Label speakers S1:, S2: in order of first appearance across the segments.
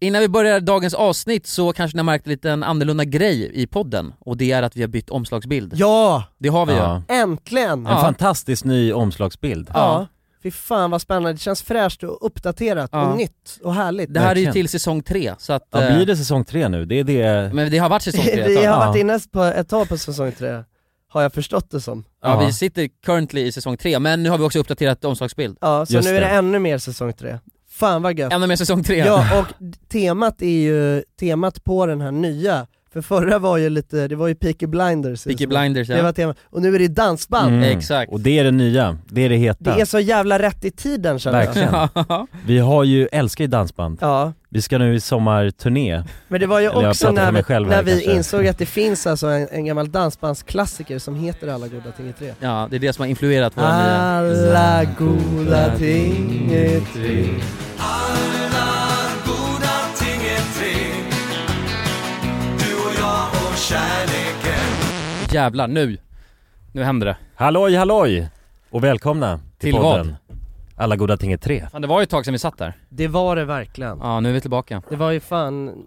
S1: Innan vi börjar dagens avsnitt så kanske ni har märkt en liten annorlunda grej i podden och det är att vi har bytt omslagsbild.
S2: Ja!
S1: Det har vi ju.
S3: Ja.
S2: Äntligen!
S3: En fantastisk ny omslagsbild.
S2: Ja. Fy fan vad spännande, det känns fräscht och uppdaterat
S1: Ja.
S2: och nytt och härligt.
S1: Det här är ju
S3: Verkligen.
S1: till säsong tre så att...
S3: Ja, blir det säsong tre nu? Det är det...
S1: eh, Men det har varit säsong tre ett
S2: Vi
S1: tag.
S2: har
S3: Ja.
S2: varit inne på ett tag på säsong tre, har jag förstått det som.
S1: Ja,
S3: Ja.
S1: vi sitter currently i säsong tre men nu har vi också uppdaterat omslagsbild.
S2: Ja, så
S3: Just
S2: nu är det
S3: det.
S2: ännu mer säsong tre. Fan vad gött.
S1: Ännu mer säsong tre.
S2: Ja, och d- temat är ju, temat på den här nya, för förra var ju lite, det var ju Peaky Blinders.
S1: Peaky
S2: som-
S1: Blinders
S2: Det
S1: ja.
S2: var temat, och nu är det dansband.
S3: Mm.
S1: Exakt.
S3: Och det är det nya, det är det heta.
S2: Det är så jävla rätt i tiden känner jag.
S3: Verkligen. Vi har ju, älskar ju dansband.
S2: Ja.
S3: Vi ska nu i sommarturné.
S2: Men det var ju
S3: Eller jag
S2: också
S3: pratar
S2: när
S3: för
S2: vi,
S3: mig själv
S2: när
S3: här
S2: vi
S3: kanske.
S2: insåg att det finns alltså en, en gammal dansbandsklassiker som heter Alla goda ting i tre.
S1: ja, det är det som har influerat eh, våra nya...
S2: Ah. Alla goda ting i tre.
S1: Jävlar, nu! Nu händer det.
S3: Halloj halloj! Och välkomna till,
S1: Till vad?
S3: podden. Alla goda ting är tre.
S1: Fan, det var ju ett tag sedan vi satt där.
S2: Det var det verkligen.
S1: Ja, nu är vi tillbaka.
S2: Det var ju fan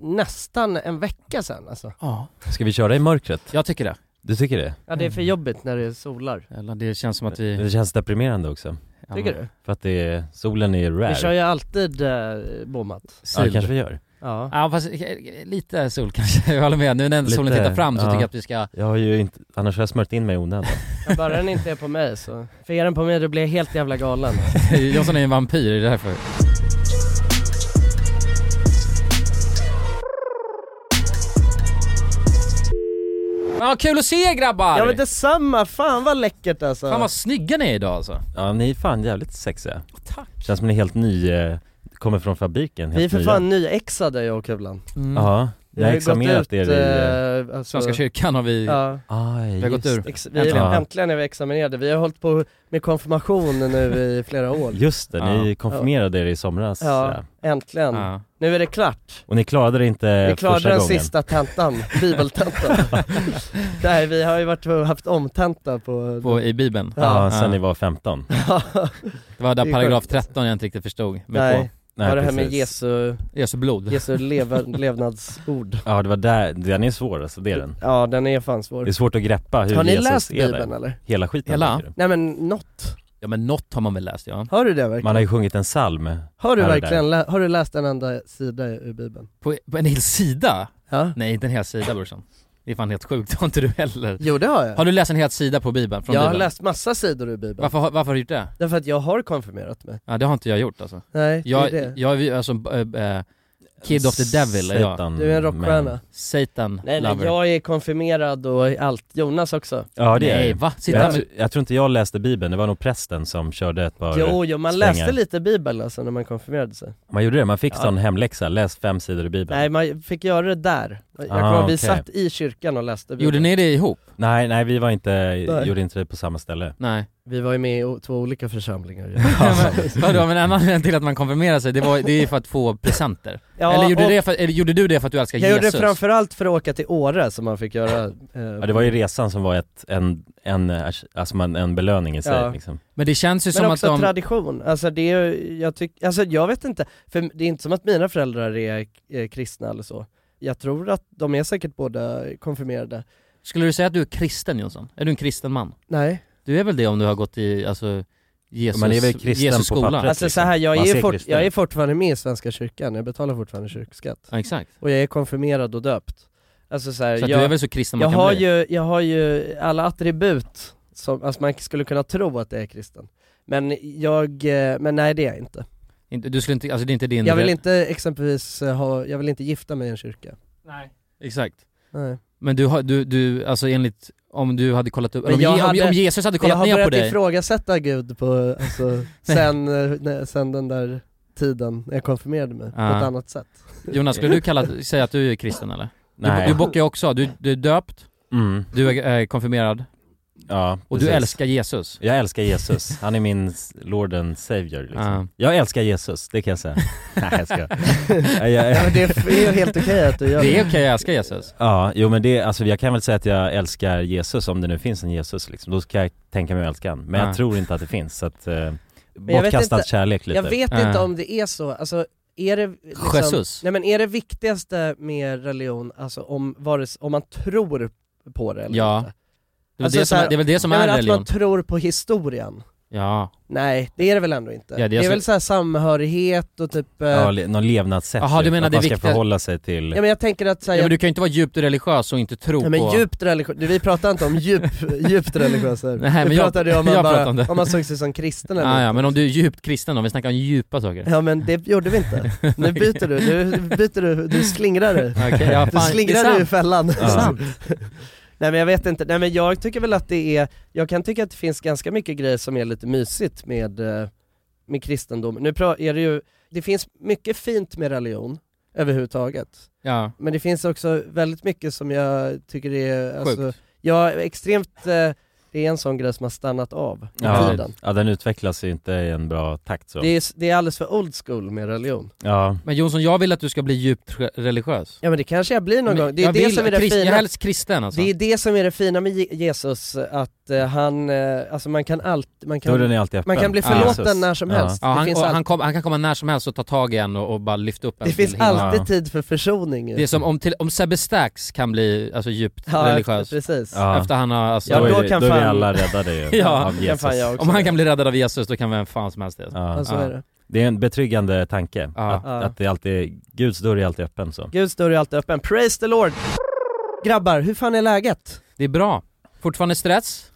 S2: nästan en vecka sen alltså.
S1: Ja.
S3: Ska vi köra i mörkret?
S1: Jag tycker det.
S3: Du tycker det?
S2: Ja det är för jobbigt när det solar.
S1: Eller det känns som att vi...
S3: Det känns deprimerande också.
S1: Ja,
S2: Tycker du?
S3: För att det är, solen är rare.
S2: Vi kör ju alltid eh, bommat.
S3: ja,
S1: Syl.
S3: det kanske vi gör.
S2: Ja.
S1: Ja fast eh, lite sol kanske, jag håller med. Nu när
S3: Lite,
S1: solen tittar fram så
S3: ja.
S1: tycker jag att vi ska...
S3: Jag har ju inte, annars har jag smört in mig i onödan.
S2: Men Bara den inte är på mig så. För är den på mig då blir jag helt jävla galen.
S1: Jonsson är ju en vampyr, är det därför? Ja, kul att se er grabbar!
S2: Ja men detsamma, fan vad läckert alltså.
S1: Fan vad snygga ni är idag alltså.
S3: Ja, ni är fan jävligt sexiga.
S1: Tack.
S3: Känns som ni är helt ny, eh, kommer från fabriken, helt
S2: Vi är för
S3: nya.
S2: fan nyexade jag och Kulan.
S3: Ja, ni
S2: Vi
S3: har
S2: Mm. har ju gått ut,
S3: examinerat er i... eh,
S2: eh, alltså,
S1: Svenska kyrkan har vi...
S2: Ja,
S3: Aj,
S1: Vi har gått
S3: just
S1: ur.
S2: ex- vi,
S1: Äntligen.
S2: äntligen. är vi examinerade. Vi har hållit på med konfirmation nu i flera år.
S3: Just det, ni
S1: Ja.
S3: konfirmerade er i somras
S2: Ja,
S3: ja.
S2: äntligen.
S1: Ja.
S2: Nu är det klart.
S3: Och ni klarade det inte
S2: Vi klarade
S3: Eh, första
S2: den
S3: gången
S2: sista tentan, bibeltentan. Nej, vi har ju varit och haft omtenta på...
S1: På, I Bibeln.
S3: Ja, sen
S1: Ja.
S3: ni var 15
S1: Det var
S2: Det
S1: där
S2: är
S1: paragraf
S2: sjukt.
S1: 13 jag inte riktigt förstod mig
S2: Nej,
S3: Nej,
S2: ja, det här med
S3: precis.
S2: Jesu,
S1: på. Jesu blod.
S2: Jesu leva, levnadsord.
S3: Ja det var där, den är svår alltså, det är den
S2: Ja, den är fan svår.
S3: Det är svårt att greppa hur
S2: Har ni
S3: Jesus
S2: läst
S3: är
S2: bibeln
S3: där
S2: eller?
S3: Hela skiten
S1: Hela?
S3: tycker du?
S2: Nej men något.
S1: Ja men något har man väl läst ja.
S2: Har du det verkligen?
S3: Man har ju sjungit en psalm
S2: Har du
S3: Här och
S2: verkligen lä- har du läst en enda sida ur bibeln?
S1: På, på en hel sida?
S2: Ja.
S1: Nej inte en hel sida brorsan. Det är fan helt sjukt, det har inte du heller.
S2: Jo det har jag.
S1: Har du läst en hel sida på bibeln? Från
S2: jag har
S1: bibeln?
S2: läst massa sidor ur bibeln.
S1: Varför, har- varför har du gjort det?
S2: Därför att jag har konfirmerat mig.
S1: Ja det har inte jag gjort alltså.
S2: Nej,
S1: Jag,
S2: det är det.
S1: jag är ju alltså äh, äh, kid of the devil är jag.
S3: Satan,
S2: Du
S3: men-
S2: är en rockstjärna.
S1: Satan
S2: Nej, nej
S1: lover.
S2: jag är konfirmerad och allt. Jonas också.
S3: Ja det är
S1: nej
S3: jag.
S1: va? Sitta
S3: jag,
S1: med...
S3: tr- jag tror inte jag läste bibeln, det var nog prästen som körde ett par
S2: Jo, jo man
S3: svängar.
S2: läste lite bibel alltså när man konfirmerade sig.
S3: Man gjorde det, man fick
S2: Ja.
S3: sån hemläxa, läs fem sidor i bibeln
S2: Nej, man fick göra det där. Jag
S3: Ah,
S2: kommer ihåg, vi
S3: okej.
S2: satt i kyrkan och läste bibeln.
S1: Gjorde ni det ihop?
S3: Nej, nej vi var inte,
S2: Nej.
S3: gjorde inte det på samma ställe
S1: Nej.
S2: Vi var ju med i o- två olika församlingar.
S1: men, vadå, men en anledning till att man konfirmerar sig, det, var, det är ju för att få presenter.
S2: Ja,
S1: eller, gjorde
S2: och
S1: det för, eller gjorde du det för att du älskar
S2: Jag gjorde
S1: Jesus?
S2: det framförallt för att åka till Åre som man fick göra. Eh,
S3: Ja det var ju resan som var ett, en, en, alltså man, en belöning i sig
S2: Ja.
S3: liksom.
S1: Men det känns ju
S2: Men
S1: som att
S2: också
S1: de...
S2: tradition, alltså det är ju- jag tycker, alltså jag vet inte, för det är inte som att mina föräldrar är eh, kristna eller så. Jag tror att de är säkert båda konfirmerade.
S1: Skulle du säga att du är kristen Jonsson? Är du en kristen man?
S2: Nej,
S1: Du är väl det om du har gått i, alltså, Jesus,
S3: Man är väl kristen
S1: Jesus
S3: på
S1: skola?
S3: pappret.
S2: alltså så
S3: liksom.
S2: här, jag
S3: Man
S2: är,
S3: ser
S2: fort,
S3: kristen
S2: jag är
S3: ut.
S2: fortfarande med i Svenska kyrkan, jag betalar fortfarande kyrkskatt.
S1: Ja exakt.
S2: Och jag är konfirmerad och döpt. Alltså så här,
S1: Så att
S2: jag,
S1: du är väl så kristen
S2: jag,
S1: man
S2: har
S1: kan bli?
S2: ju, jag har ju alla attribut som, alltså man skulle kunna tro att jag är kristen. Men jag, eh, men nej det är jag inte.
S1: Inte- Du skulle inte, alltså det är inte din...
S2: Jag vill inte exempelvis eh, ha, jag vill inte gifta mig i en kyrka.
S1: Nej. Exakt.
S2: Nej.
S1: Men du, har- du, du, alltså enligt, om du hade kollat upp,
S2: Men
S1: om,
S2: jag
S1: Je-
S2: hade-
S1: om, om Jesus hade
S2: Jag
S1: kollat
S2: har
S1: ner på
S2: börjat
S1: dig,
S2: ifrågasätta Gud på, alltså, sen, eh, när- sen den där tiden när jag konfirmerade mig på
S1: Ah.
S2: ett annat sätt.
S1: Jonas skulle du kalla, säga att du är kristen eller?
S3: Nej.
S1: Du, du bockar ju också, du, du är döpt,
S3: mm.
S1: du är eh, konfirmerad
S3: Ja,
S1: och du
S3: precis.
S1: älskar Jesus.
S3: Jag älskar Jesus, han är min s- Lord and Savior liksom.
S1: Ja.
S3: Jag älskar Jesus, det kan jag säga. Nej jag skojar. Nej, jag-
S2: Ja, men det är ju helt okej att du gör
S1: Det är
S2: det.
S1: okej att älska Jesus.
S3: Ja, jo men det, alltså jag kan väl säga att jag älskar Jesus om det nu finns en Jesus liksom. Då ska jag tänka mig att älska han. Men
S1: Ja.
S3: jag tror inte att det finns så att, eh,
S2: jag vet
S3: bortkastad
S2: inte-
S3: kärlek lite.
S2: Jag vet
S1: Ah.
S2: inte om det är så, alltså är det, liksom,
S1: Jesus.
S2: Nej men är det viktigaste med religion, alltså om, vare sig- om man tror på det eller
S1: Ja,
S2: inte?
S1: Det är,
S2: Alltså
S1: det, som,
S2: så
S1: är-
S2: här-
S1: det är väl det som
S2: Nej,
S1: är
S2: men att man
S1: religion?
S2: tror på historien?
S1: Ja.
S2: Nej, det är det väl ändå inte?
S1: Ja, det är
S2: det, är
S1: alltså-
S2: väl så här samhörighet och typ... eh,
S3: Ja,
S2: Ja,
S3: le- någon levnadssätt
S1: Jaha, du
S3: typ,
S1: menar
S3: att
S1: det
S3: man ska
S1: viktiga-
S3: förhålla sig till...
S2: men jag tänker att så här,
S1: ja men du kan ju inte vara djupt religiös och inte tro
S2: Ja, men
S1: på...
S2: djupt religiös, vi pratar inte om djup, djupt religiösa.
S1: Nej, men
S2: vi
S1: jag-
S2: pratade ju om, man
S1: jag
S2: bara,
S1: pratar om
S2: om,
S1: det.
S2: man såg sig som kristen eller
S1: Ja, ja,
S2: inte.
S1: men om du är djupt kristen om vi snackar om djupa saker.
S2: Ja men det gjorde vi inte. Nu byter du, nu byter du, du slingrar dig.
S1: Okej, ja,
S2: Du
S1: fan, det är
S2: slingrar dig ur
S1: sant.
S2: fällan.
S1: Det är sant.
S2: Nej men jag vet inte, nej men jag tycker väl att det är, jag kan tycka att det finns ganska mycket grejer som är lite mysigt med, eh, med kristendom. Nu pra- är det ju, det finns mycket fint med religion överhuvudtaget.
S1: Ja.
S2: Men det finns också väldigt mycket som jag tycker är, alltså,
S1: Sjukt.
S2: ja extremt, eh, det är en sån grej som har stannat av med
S3: Ja,
S2: tiden.
S3: ja, den utvecklas ju inte i en bra takt så.
S2: Det är, s- det är alldeles för old school med religion.
S3: Ja.
S1: Men Jonsson, jag vill att du ska bli djupt re- religiös.
S2: Ja men det kanske jag blir någon
S1: Men
S2: gång, det är
S1: jag
S2: det
S1: vill-
S2: som är det
S1: krist-
S2: fina.
S1: Jag är helst kristen alltså.
S2: Det är det som är det fina med Je- Jesus, att eh, han, eh, alltså man kan alltid, man kan,
S3: Dörren är alltid öppen.
S2: man kan bli
S1: Ja.
S2: förlåten
S3: Jesus.
S2: när som
S3: Ja.
S2: helst.
S1: ja,
S2: det
S1: han,
S2: finns,
S1: och,
S2: all-
S1: han, kom, han kan komma när som helst och ta tag i en och, och bara lyfta upp en
S2: det
S1: till
S2: finns
S1: himlen.
S2: alltid
S3: Ja.
S2: tid för försoning. ju.
S1: Det är som om, till, om Sebbe Stax kan bli alltså, djupt
S2: ja,
S1: religiös.
S2: precis.
S3: Ja.
S1: Efter han har, alltså,
S2: Ja,
S3: då,
S2: då
S3: är det,
S2: kan
S3: då är vi
S2: fan-
S3: alla räddade ju
S1: Ja,
S3: av
S2: kan
S3: Jesus.
S2: fan jag också.
S1: om han kan bli räddad av Jesus då kan vem fan som helst det. alltså.
S3: Ja.
S2: Ja, så
S1: Ja.
S2: är det.
S3: Det är en betryggande tanke,
S1: Ja.
S3: att,
S2: Ja.
S3: att det alltid, Guds dörr är alltid öppen så.
S2: Guds dörr är alltid öppen. Praise the Lord! Grabbar, hur fan är läget?
S1: Det är bra. Fortfarande stress,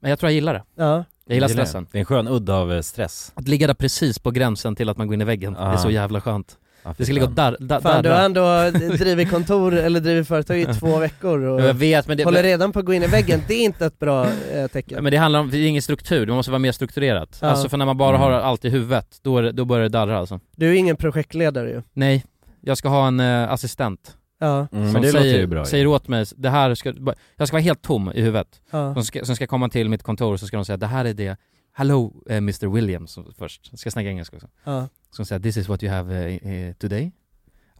S1: men jag tror jag gillar det.
S2: Ja.
S1: Jag gillar
S3: Det är-
S1: stressen.
S3: Det är en skön udd av eh, stress.
S1: Att ligga där precis på gränsen till att man går in i väggen,
S3: Ja.
S1: det är så jävla skönt.
S3: Ja, fy
S1: Det ska ligga och
S3: fan.
S1: dar, dar,
S2: Fan du
S1: darra.
S2: har ändå drivit kontor, eller drivit företag i två veckor och
S1: Ja, Jag vet men det,
S2: håller redan på att gå in i väggen, det är inte ett bra eh,
S1: Ja,
S2: tecken.
S1: Men det handlar om, det är ingen struktur, det måste vara mer strukturerat.
S2: Ja.
S1: Alltså för när man bara har
S3: Mm.
S1: allt i huvudet, då, är det, då börjar det darra alltså.
S2: Du är ingen projektledare ju.
S1: Nej, jag ska ha en eh, assistent
S2: Ja,
S3: Mm,
S1: som
S3: men det
S1: säger,
S3: låter ju bra ju.
S1: säger åt mig, det här ska, jag ska vara helt tom i huvudet.
S2: ja.
S1: De ska, som ska komma till mitt kontor och så ska de säga det här är det, hello eh, Mr Williams så- först, jag ska snacka engelska också.
S2: ja.
S1: Så ska de säga this is what you have eh, eh, today.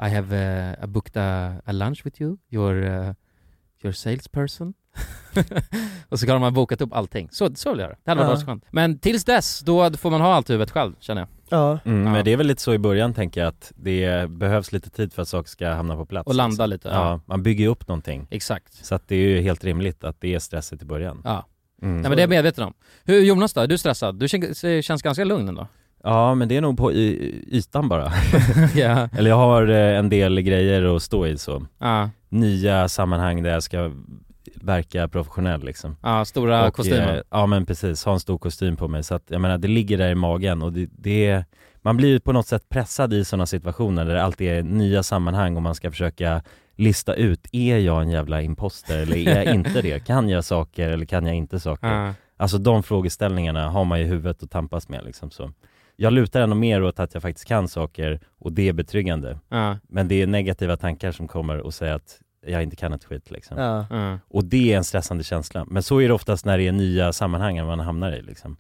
S1: I have eh, I booked a, a lunch with you, your, eh, your salesperson. och så har man bokat upp allting. Så, så vill jag göra. Det hade varit
S2: Ja.
S1: ja. skönt. Men tills dess, då får man ha allt i huvudet själv känner jag.
S2: ja.
S3: Mm,
S1: Ja.
S3: Men det är väl lite så i början tänker jag att det behövs lite tid för att saker ska hamna på plats.
S1: Och landa
S3: liksom.
S1: lite.
S3: Ja, man bygger ju upp någonting.
S1: Exakt.
S3: Så att det är ju helt rimligt att det är stressigt i början.
S1: Ja.
S3: Mm.
S1: Nej men det är jag medveten om. Hur, Jonas då? Är du stressad? Du känns, eh, känns ganska lugn ändå.
S3: Ja men det är nog på y- ytan bara.
S1: ja.
S3: Eller jag har eh, en del grejer att stå i så.
S1: Ja,
S3: Nya sammanhang där jag ska verka professionell liksom.
S1: ja stora
S3: Och,
S1: kostymer.
S3: eh, Ja men precis, ha en stor kostym på mig. Så att jag menar det ligger där i magen och det, det är, man blir ju på något sätt pressad i sådana situationer där det alltid är nya sammanhang och man ska försöka lista ut, är jag en jävla imposter eller är jag inte det? Kan jag saker eller kan jag inte saker?
S1: Ja.
S3: Alltså de frågeställningarna har man i huvudet och tampas med liksom så. Jag lutar ändå mer åt att jag faktiskt kan saker och det är betryggande.
S1: Ja.
S3: Men det är negativa tankar som kommer och säger att jag inte kan ett skit liksom.
S2: ja.
S1: Ja.
S3: Och det är en stressande känsla. Men så är det oftast när det är nya sammanhang man hamnar i. Liksom.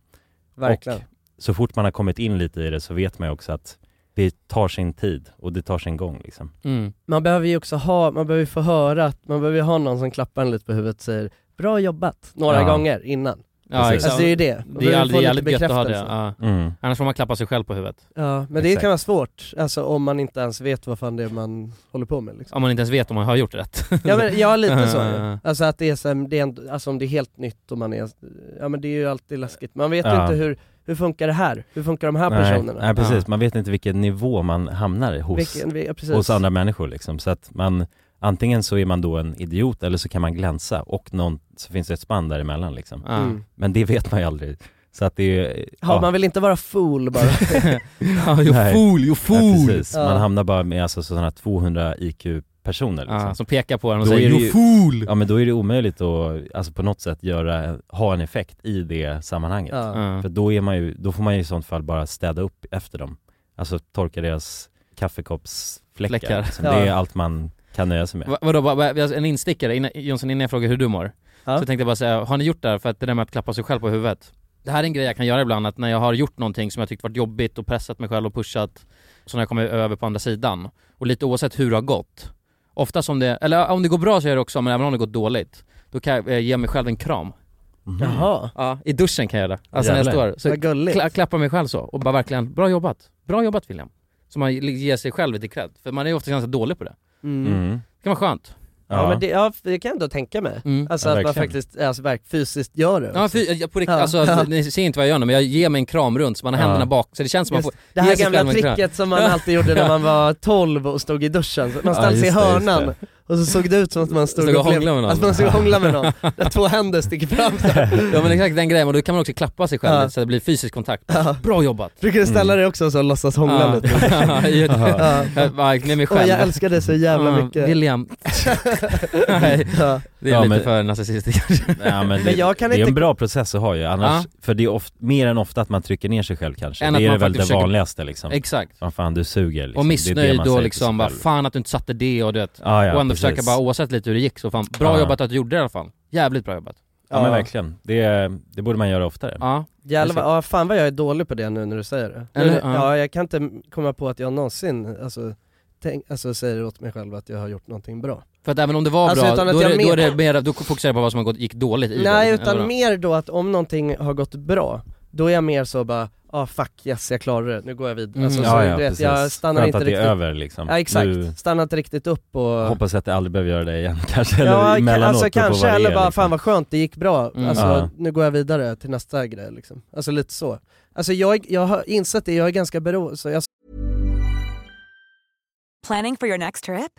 S2: Verkligen.
S3: Och så fort man har kommit in lite i det så vet man ju också att det tar sin tid och det tar sin gång. Liksom.
S1: Mm.
S2: Man behöver ju också ha, man behöver ju få höra, att man behöver ju ha någon som klappar en lite på huvudet och säger bra jobbat några
S3: Ja.
S2: gånger innan.
S1: Ja,
S3: Precis.
S1: exakt.
S2: Alltså det är ju det. Man
S1: det
S2: behöver
S1: är
S2: få
S1: aldrig
S2: lite
S1: jävligt gött att ha det.
S2: bekräftelse.
S1: Ja.
S3: Mm.
S1: Annars får man klappa sig själv på huvudet.
S2: Ja, men det
S3: Exakt.
S2: kan vara svårt, alltså om man inte ens vet vad fan det är man håller på med liksom.
S1: Om man inte ens vet om man har gjort rätt.
S2: Ja men ja, lite så.
S1: Ja, ja, ja.
S2: Alltså att det är, så, det är en, alltså om det är helt nytt och man är, ja men det är ju alltid läskigt. Man vet ju
S3: Ja.
S2: inte hur, hur funkar det här? Hur funkar de här
S3: Nej,
S2: personerna?
S3: nej, precis.
S1: Ja.
S3: Man vet inte vilken nivå man hamnar hos,
S2: Vilken, ja, precis.
S3: hos andra människor. Liksom. Så att man, antingen så är man då en idiot eller så kan man glänsa och någon, så finns det ett spann däremellan. Liksom.
S1: Ja.
S2: Mm.
S3: Men det vet man ju aldrig. Så att det är...
S2: Ja, man vill inte vara fool bara.
S1: ja, you
S3: Nej.
S1: fool, you
S3: Ja,
S1: fool!
S3: precis. Man
S2: Ja.
S3: hamnar bara med alltså, sådana 200 IQ-personer. Liksom.
S1: Ja, som pekar på en och
S3: Då
S1: säger
S3: är det
S1: 'You
S3: ju-
S1: fool!'
S3: Ja men då är det omöjligt att alltså, på något sätt göra, ha en effekt i det sammanhanget.
S2: Ja.
S1: Ja.
S3: För då, är man ju, då får man ju i sånt fall bara städa upp efter dem. Alltså torka deras kaffekoppsfläckar.
S1: Fläckar.
S3: Liksom.
S2: Ja.
S3: Det är allt man kan nöja sig med.
S1: Va- Vadå, va, va, alltså, en instickare, innan, Jonsson innan jag frågar hur du mår,
S2: Ja.
S1: så tänkte jag bara säga, har ni gjort det här för att det där med att klappa sig själv på huvudet? Det här är en grej jag kan göra ibland, att när jag har gjort någonting som jag tyckt varit jobbigt och pressat mig själv och pushat, så när jag kommer över på andra sidan, och lite oavsett hur det har gått, ofta som det, eller om det går bra så gör jag det också, men även om det gått dåligt, då kan jag eh, ge mig själv en kram.
S3: Mhm.
S2: Jaha,
S1: Ja, i duschen kan jag göra det. Alltså när jag
S3: Jävlar.
S1: står, så
S2: vad gulligt.
S1: Kla klappar mig själv så och bara verkligen, bra jobbat. Bra jobbat William. Så man ger sig själv lite cred, för man är ju ofta ganska dålig på det.
S2: Mm.
S3: Mm.
S1: Det kan vara skönt.
S2: Ja. men det, ja, det kan jag ändå tänka mig.
S1: Mm.
S2: Alltså
S3: Ja,
S2: att man
S3: verkligen.
S2: faktiskt, alltså verk, fysiskt gör det.
S1: Ja,
S2: också.
S1: för, jag, på riktigt,
S2: Ja.
S1: alltså,
S2: Ja.
S1: ni ser inte vad jag gör nu men jag ger mig en kram runt så man har
S3: Ja.
S1: händerna bak, så det känns som man
S2: Just
S1: får,
S2: det här
S1: Jesus
S2: gamla
S1: själv, men knä.
S2: tricket som man alltid gjorde när man var 12 och stod i duschen, så
S3: Ja,
S2: man ställde sig i
S3: just det, just
S2: hörnan
S3: det.
S2: och så såg det ut som att man stod,
S1: Stod och
S2: blev-
S1: hånglade med någon.
S2: Att man stod och hånglade med någon, där två händer sticker fram så här.
S1: ja men exakt den grejen, och då kan man också klappa sig själv
S2: Ja.
S1: lite, så det blir fysisk kontakt.
S2: Ja.
S1: Bra jobbat!
S2: Brukar du ställa dig också och så låtsas hångla
S1: Ja.
S2: lite?
S1: Ja, i ett-
S2: Ja.
S1: Jag bara, jag mig
S2: Och
S1: själv.
S2: jag älskar dig så jävla
S1: Ja,
S2: mycket.
S1: William. Nej,
S2: Ja.
S1: det är
S3: Ja,
S1: lite
S3: men-
S1: för narcissistiskt kanske.
S3: Ja, men det,
S2: Men jag kan
S3: det är
S2: inte-
S3: en bra process att ha ju, annars, för det är oft, mer än ofta att man trycker ner sig själv kanske.
S1: Än
S3: det
S1: att
S3: är
S1: man
S3: väl det
S1: faktiskt försöker-
S3: vanligaste liksom.
S1: Exakt.
S3: Vad fan du suger liksom.
S1: Och
S3: det är det
S1: missnöjd
S3: man säger
S1: och
S3: till sig
S1: liksom bara
S3: själv.
S1: fan att du inte satte det och du vet.
S3: ja, ja,
S1: och ändå
S3: precis.
S1: försöka bara oavsett lite hur det gick så fan, bra
S3: Ja.
S1: jobbat att du gjorde det i alla fall. Jävligt bra jobbat.
S3: Ja men verkligen, Alltså- det, det borde man göra oftare.
S1: Ja.
S2: Jävlar, ja fan vad jag är dålig på det nu när du säger det.
S1: Eller hur? Ja.
S2: ja, jag kan inte komma på att jag någonsin, alltså, tänk, alltså säger åt mig själv att jag har gjort någonting bra.
S1: För att även om det var
S2: Alltså,
S1: bra,
S2: utan
S1: då
S2: att
S1: är,
S2: jag
S1: det, då är
S2: menar-
S1: det mer, då fokuserar jag på vad som har gått, gick dåligt i
S2: Nej
S1: det.
S2: utan
S1: Eller vad?
S2: mer då att om någonting har gått bra, då är jag mer så bara, ah fuck yes jag klarade det, nu går jag vidare.
S1: Mm.
S2: Alltså, så,
S3: ja, ja,
S2: du vet,
S3: precis.
S2: jag stannar
S3: Skönt
S2: inte
S3: att det
S2: riktigt,
S3: är över liksom.
S2: ja exakt,
S3: Du,
S2: stannar inte riktigt upp och
S3: hoppas att du aldrig behöver göra det igen kanske,
S2: Ja,
S3: eller
S2: ka-
S3: emellanåt.
S2: alltså
S3: beror på
S2: kanske,
S3: vad det
S2: eller
S3: är,
S2: bara
S3: liksom.
S2: fan vad skönt, det gick bra,
S1: Mm.
S2: alltså
S3: Ja.
S2: nu går jag vidare till nästa grej liksom. Alltså lite så. Alltså jag, jag har insett det, jag är ganska beroende, så jag
S4: Planning for your next trip?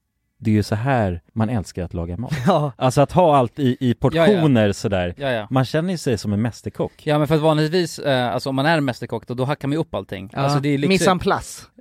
S3: det är ju så här man älskar att laga mat.
S2: Ja,
S3: Alltså att ha allt i, i portioner sådär.
S1: Ja, ja.
S3: Man känner ju sig som en mästerkock.
S1: Ja men för att vanligtvis, eh, alltså om man är mästerkock då, då hackar man ju upp allting.
S2: ja.
S1: Alltså det är
S2: Mise en
S1: liksom,
S2: place.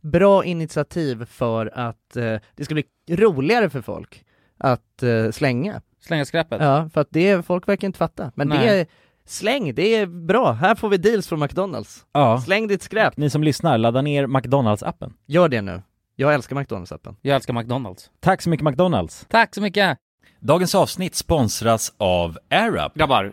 S5: bra initiativ för att eh, det ska bli roligare för folk att eh, slänga.
S1: Slänga skräpet.
S5: Ja, för att det, folk verkar inte fatta. Men det
S1: Nej.
S5: är, släng, det är bra. Här får vi deals från McDonalds.
S3: Ja.
S5: Släng ditt skräp.
S3: Ni som lyssnar, ladda ner McDonalds-appen.
S5: Gör det nu. Jag älskar McDonalds-appen.
S1: Jag älskar McDonalds.
S3: Tack så mycket McDonalds!
S1: Tack så mycket!
S3: Dagens avsnitt sponsras av AirUp.
S6: Grabbar,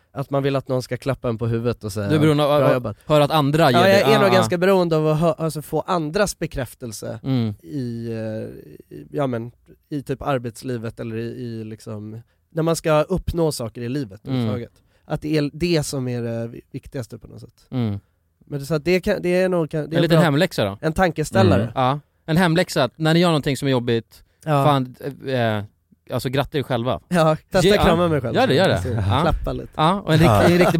S2: att man vill att någon ska klappa en på huvudet och säga
S1: Du är beroende av
S2: "Bra
S1: av
S2: jobbat."
S1: att höra att andra ger
S2: Ja,
S1: dig-
S2: jag är nog
S1: ah,
S2: ganska beroende av att hö- alltså, få andras bekräftelse
S1: ah. Mm.
S2: i, eh, i- ja men, i typ arbetslivet eller i, i liksom, när man ska uppnå saker i livet
S1: Mm.
S2: överhuvudtaget. Att det är det som är det vi- viktigaste på något sätt.
S1: Mm.
S2: Men det, så att det, kan, det är nog kan, det
S1: En
S2: är
S1: liten
S2: bra,
S1: hemläxa då.
S2: en tankeställare.
S3: Mm.
S1: Ja. En hemläxa, att när ni gör någonting som är jobbigt,
S2: Ja.
S1: fan, eh, alltså gratta er själva.
S2: Ja, testa
S1: Ge-
S2: krama
S1: ja.
S2: mig själv.
S1: Gör det, gör det.
S2: Precis.
S1: Ja.
S2: Klappa lite.
S1: Ja, och en riktig, en riktig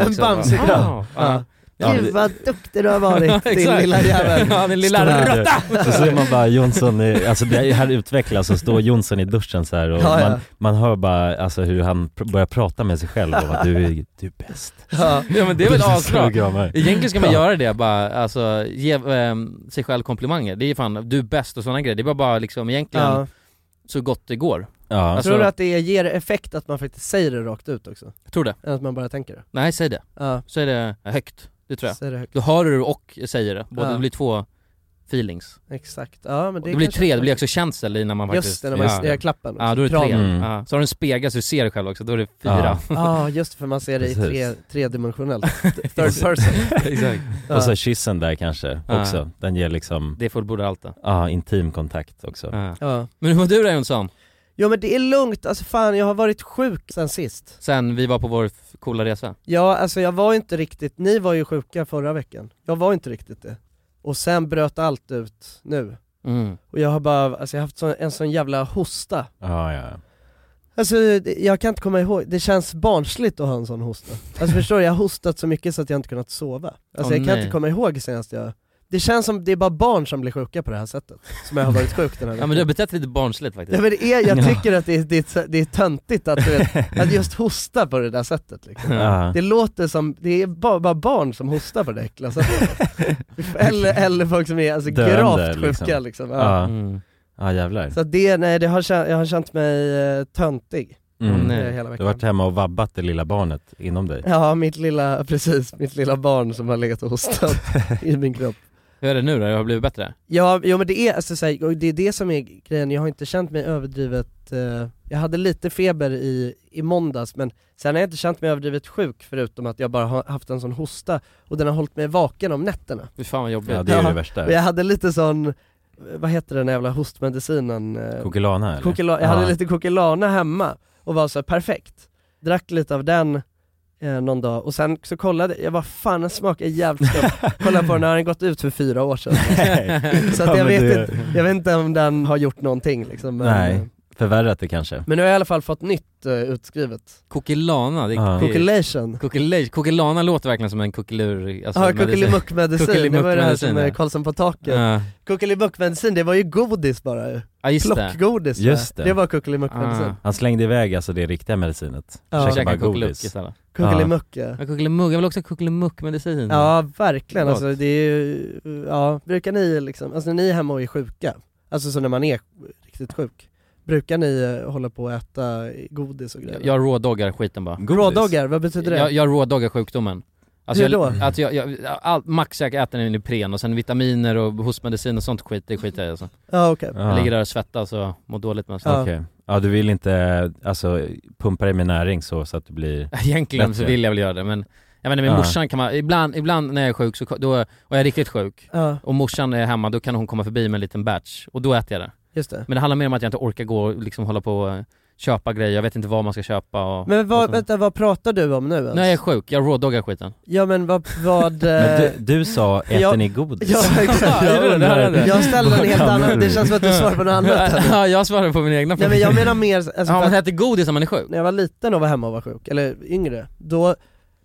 S2: En
S1: också.
S2: Bamse-kram.
S1: Ah, ah.
S3: Ja,
S2: Gud
S3: det-
S2: vad duktig du har varit
S1: Ja,
S2: din
S1: exakt.
S2: lilla jävel.
S1: Ja, din lilla
S3: Står där.
S1: råtta!
S3: Och så är man bara Jonsson, i, alltså det här utvecklas och står Jonsson i duschen så här och
S2: Ja, ja.
S3: Man, man hör bara alltså, hur han pr- börjar prata med sig själv och bara, du, är- du är bäst.
S2: Ja.
S1: Ja men det är väl asbra.
S3: asbra?
S1: Egentligen ska man
S3: Ja.
S1: göra det bara, alltså ge ehm, sig själv komplimanger. Det är fan, du är bäst och sådana grejer. Det är bara, bara liksom egentligen
S2: Ja.
S1: så gott det går.
S3: Ja.
S1: Alltså-
S2: Tror du att det ger effekt att man faktiskt säger det rakt ut också?
S1: Tror det.
S2: Än att man bara tänker det?
S1: Nej, säg det.
S2: Ja,
S1: Säg det högt. Det tror jag.
S2: säger det högt.
S1: Då hör du och säger det. Både,
S2: Ja.
S1: Det blir två feelings.
S2: Exakt. Ja, men
S1: Det,
S2: det
S1: det blir
S2: kanske-
S1: tre, det blir också känsel i när man faktiskt...
S2: Just det, när man
S1: ja.
S2: ja. klappen.
S1: Ja, då är det tre.
S2: Kramen.
S3: Mm.
S1: Ja. Så har du en spegel så du ser dig själv också, då är det fyra.
S2: Ja, just för man ser det i
S3: Precis.
S2: tre, tredimensionellt. Third person.
S1: Exakt.
S3: Och så kyssen där kanske
S1: Ja.
S3: också, den ger liksom,
S1: Det fullbordar allt det.
S3: ja, intim kontakt också.
S1: Ja.
S2: Ja.
S1: Men hur mår du då Jonsson?
S2: Jo men det är lugnt, alltså fan jag har varit sjuk sen sist.
S1: Sen vi var på vår f- coola resa.
S2: Ja, alltså jag var inte riktigt, ni var ju sjuka förra veckan. Jag var inte riktigt det. Och sen bröt allt ut nu.
S1: Mm.
S2: Och jag har bara, alltså jag har haft sån, en sån jävla hosta.
S3: Ja, ja, ja.
S2: Alltså det- jag kan inte komma ihåg, det känns barnsligt att ha en sån hosta. Alltså förstår du, jag har hostat så mycket så att jag inte kunnat sova. Alltså
S1: Åh,
S2: jag kan
S1: nej.
S2: inte komma ihåg senast jag, Det känns som det är bara barn som blir sjuka på det här sättet, som jag har varit sjuk den här
S1: Ja men du har betett dig lite barnsligt faktiskt.
S2: Nej, men det är, jag tycker att det är, det är, det är töntigt att, du vet, att just hosta på det där sättet liksom.
S3: Ja.
S2: Det låter som, det är bara, bara barn som hostar på det äckliga sättet. eller, eller folk som är alltså,
S3: Döende,
S2: gravt
S3: liksom.
S2: sjuka liksom. Ja.
S3: Ja,
S1: Mm.
S3: ja jävlar.
S2: Så att det, nej det har, känt- jag har känt mig eh, töntig
S3: Mm.
S1: Nej.
S2: eh, hela
S3: Du
S2: veckan.
S3: har varit hemma och vabbat det lilla barnet inom dig.
S2: Ja, mitt lilla, precis, mitt lilla barn som har legat och hostat i min kropp.
S1: Hur är det nu då? Jag har blivit bättre?
S2: Ja, jo, men det är, alltså, så här, och det är det som är grejen, jag har inte känt mig överdrivet, eh, jag hade lite feber i, i måndags men sen har jag inte känt mig överdrivet sjuk förutom att jag bara har haft en sån hosta och den har hållit mig vaken om nätterna.
S1: Fy fan vad jobbigt.
S3: Ja det är ju
S2: Ja.
S3: det värsta.
S2: Och jag hade lite sån, vad heter den jävla hostmedicinen? eh,
S3: Kokilana eller?
S2: Kokila- jag hade
S3: Ja.
S2: lite kokilana hemma och var så här, perfekt. Drack lite av den eh, någon dag och sen så kollade jag, vad fan den smakar jävligt gott. Kollade på den, har den gått ut för fyra år sedan?
S3: Nej.
S2: Så att
S3: Ja,
S2: jag,
S3: men
S2: vet
S3: det-
S2: inte, jag vet inte om den har gjort någonting liksom. Men,
S3: Nej. Förvärrat det kanske.
S2: men nu har jag i alla fall fått nytt eh, utskrivet.
S1: Kokilana, det
S3: Ja.
S1: är... kokil-
S2: Kokilation.
S1: kokilej- Kokilana låter verkligen som en kokelur... Alltså,
S2: Ja,
S1: medicin.
S2: kokelimuckmedicin, det var ju det här som
S1: Kokelimuckmedicin,
S2: eh,
S1: ja.
S2: Karlsson på taket.
S1: Ja,
S2: Kokelimuckmedicin, det var ju godis bara ju.
S1: Ja, just det.
S2: Plockgodis va?
S3: Just det.
S2: det var
S1: Ah.
S2: kokelimuckmedicin.
S3: Han slängde iväg alltså det riktiga medicinet.
S2: Ja.
S1: Jag
S3: Käkade
S1: käkar
S3: bara
S1: kokelimuck
S3: godis.
S1: istället.
S2: Kokelimuck ja.
S1: Ja, kokelimuck, jag vill också ha kokelimuckmedicin.
S2: Ja verkligen,
S1: Mm. Gott.
S2: alltså det är ju, ja, brukar ni liksom, alltså när ni är hemma och är sjuka, alltså så när man är riktigt sjuk, brukar ni eh, hålla på och äta godis och grejer?
S1: Jag rådoggar skiten bara.
S3: Godis.
S2: Rådoggar, vad betyder det?
S1: Jag, jag rådoggar sjukdomen.
S2: Hur
S1: alltså, jag,
S2: då?
S1: Att jag, jag, all, max jag äter en Ipren och sen vitaminer och hostmedicin och sånt skit, det skiter jag i alltså.
S2: Ja okej.
S3: Ja.
S1: Jag ligger där och svettas och mår dåligt men
S2: Ja.
S1: ja.
S3: Okej. Ja du vill inte alltså pumpa dig med näring så, så att du blir...
S1: Egentligen så
S3: Bättre.
S1: vill jag väl göra det men jag vet inte, med
S3: Ja.
S1: morsan kan man, ibland, ibland när jag är sjuk så, då, och jag är riktigt sjuk
S2: Ja,
S1: och morsan är hemma, då kan hon komma förbi med en liten batch och då äter jag det.
S2: just det.
S1: Men det handlar mer om att jag inte orkar gå och liksom hålla på och köpa grejer, jag vet inte vad man ska köpa och...
S2: Men
S1: och
S2: vad,
S1: så.
S2: vänta, vad pratar du om nu ens?
S1: alltså. Nej jag är sjuk, jag rådoggar skiten.
S2: Ja men vad, vad...
S3: Men
S2: eh,
S3: du, du sa, äter
S2: jag-
S3: ni godis?
S2: ja, exakt.
S1: Ja, det är det, det här är det.
S2: jag ställer en helt
S3: Vad menar
S2: annan,
S3: du?
S2: det känns som att du svarar på något annat. här.
S1: ja, jag svarar på min egna
S2: Nej
S1: fråga.
S2: men jag menar mer, alltså,
S1: ja,
S2: för
S1: man
S2: att
S1: äter godis när man är sjuk.
S2: när jag var liten och var hemma och var sjuk, eller yngre, då,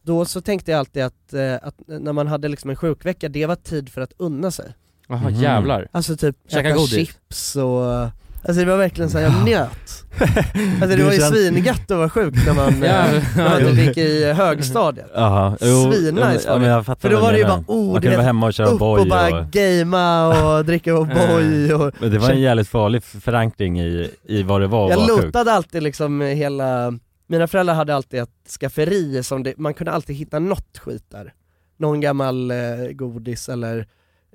S2: då så tänkte jag alltid att, eh, att när man hade liksom en sjukvecka, det var tid för att unna sig.
S1: Jaha
S3: Mhm.
S1: jävlar.
S2: Alltså typ
S1: Käka
S2: äta
S1: godis.
S2: chips och, alltså det var verkligen såhär, jag njöt. Alltså det
S3: Du
S2: var ju
S3: känns-
S2: svingött att vara sjuk när man,
S1: Ja.
S2: eh, när man typ gick i högstadiet.
S3: Jaha,
S2: Svinnice var
S3: ja,
S2: det.
S3: men jag fattar
S2: För då
S3: vad
S2: var det
S3: ni
S2: ju
S3: menar.
S2: bara, oh
S3: Man
S2: du
S3: kunde vara
S2: vet,
S3: hemma och köra
S2: upp och
S3: boj
S2: bara
S3: och...
S2: gamea och dricka O'boy och
S3: Men det var en jävligt farlig förankring i, i vad det var att
S2: Jag
S3: vara sjuk.
S2: lotade alltid liksom hela, mina föräldrar hade alltid ett skafferi som det, man kunde alltid hitta något skit där. Någon gammal eh, godis eller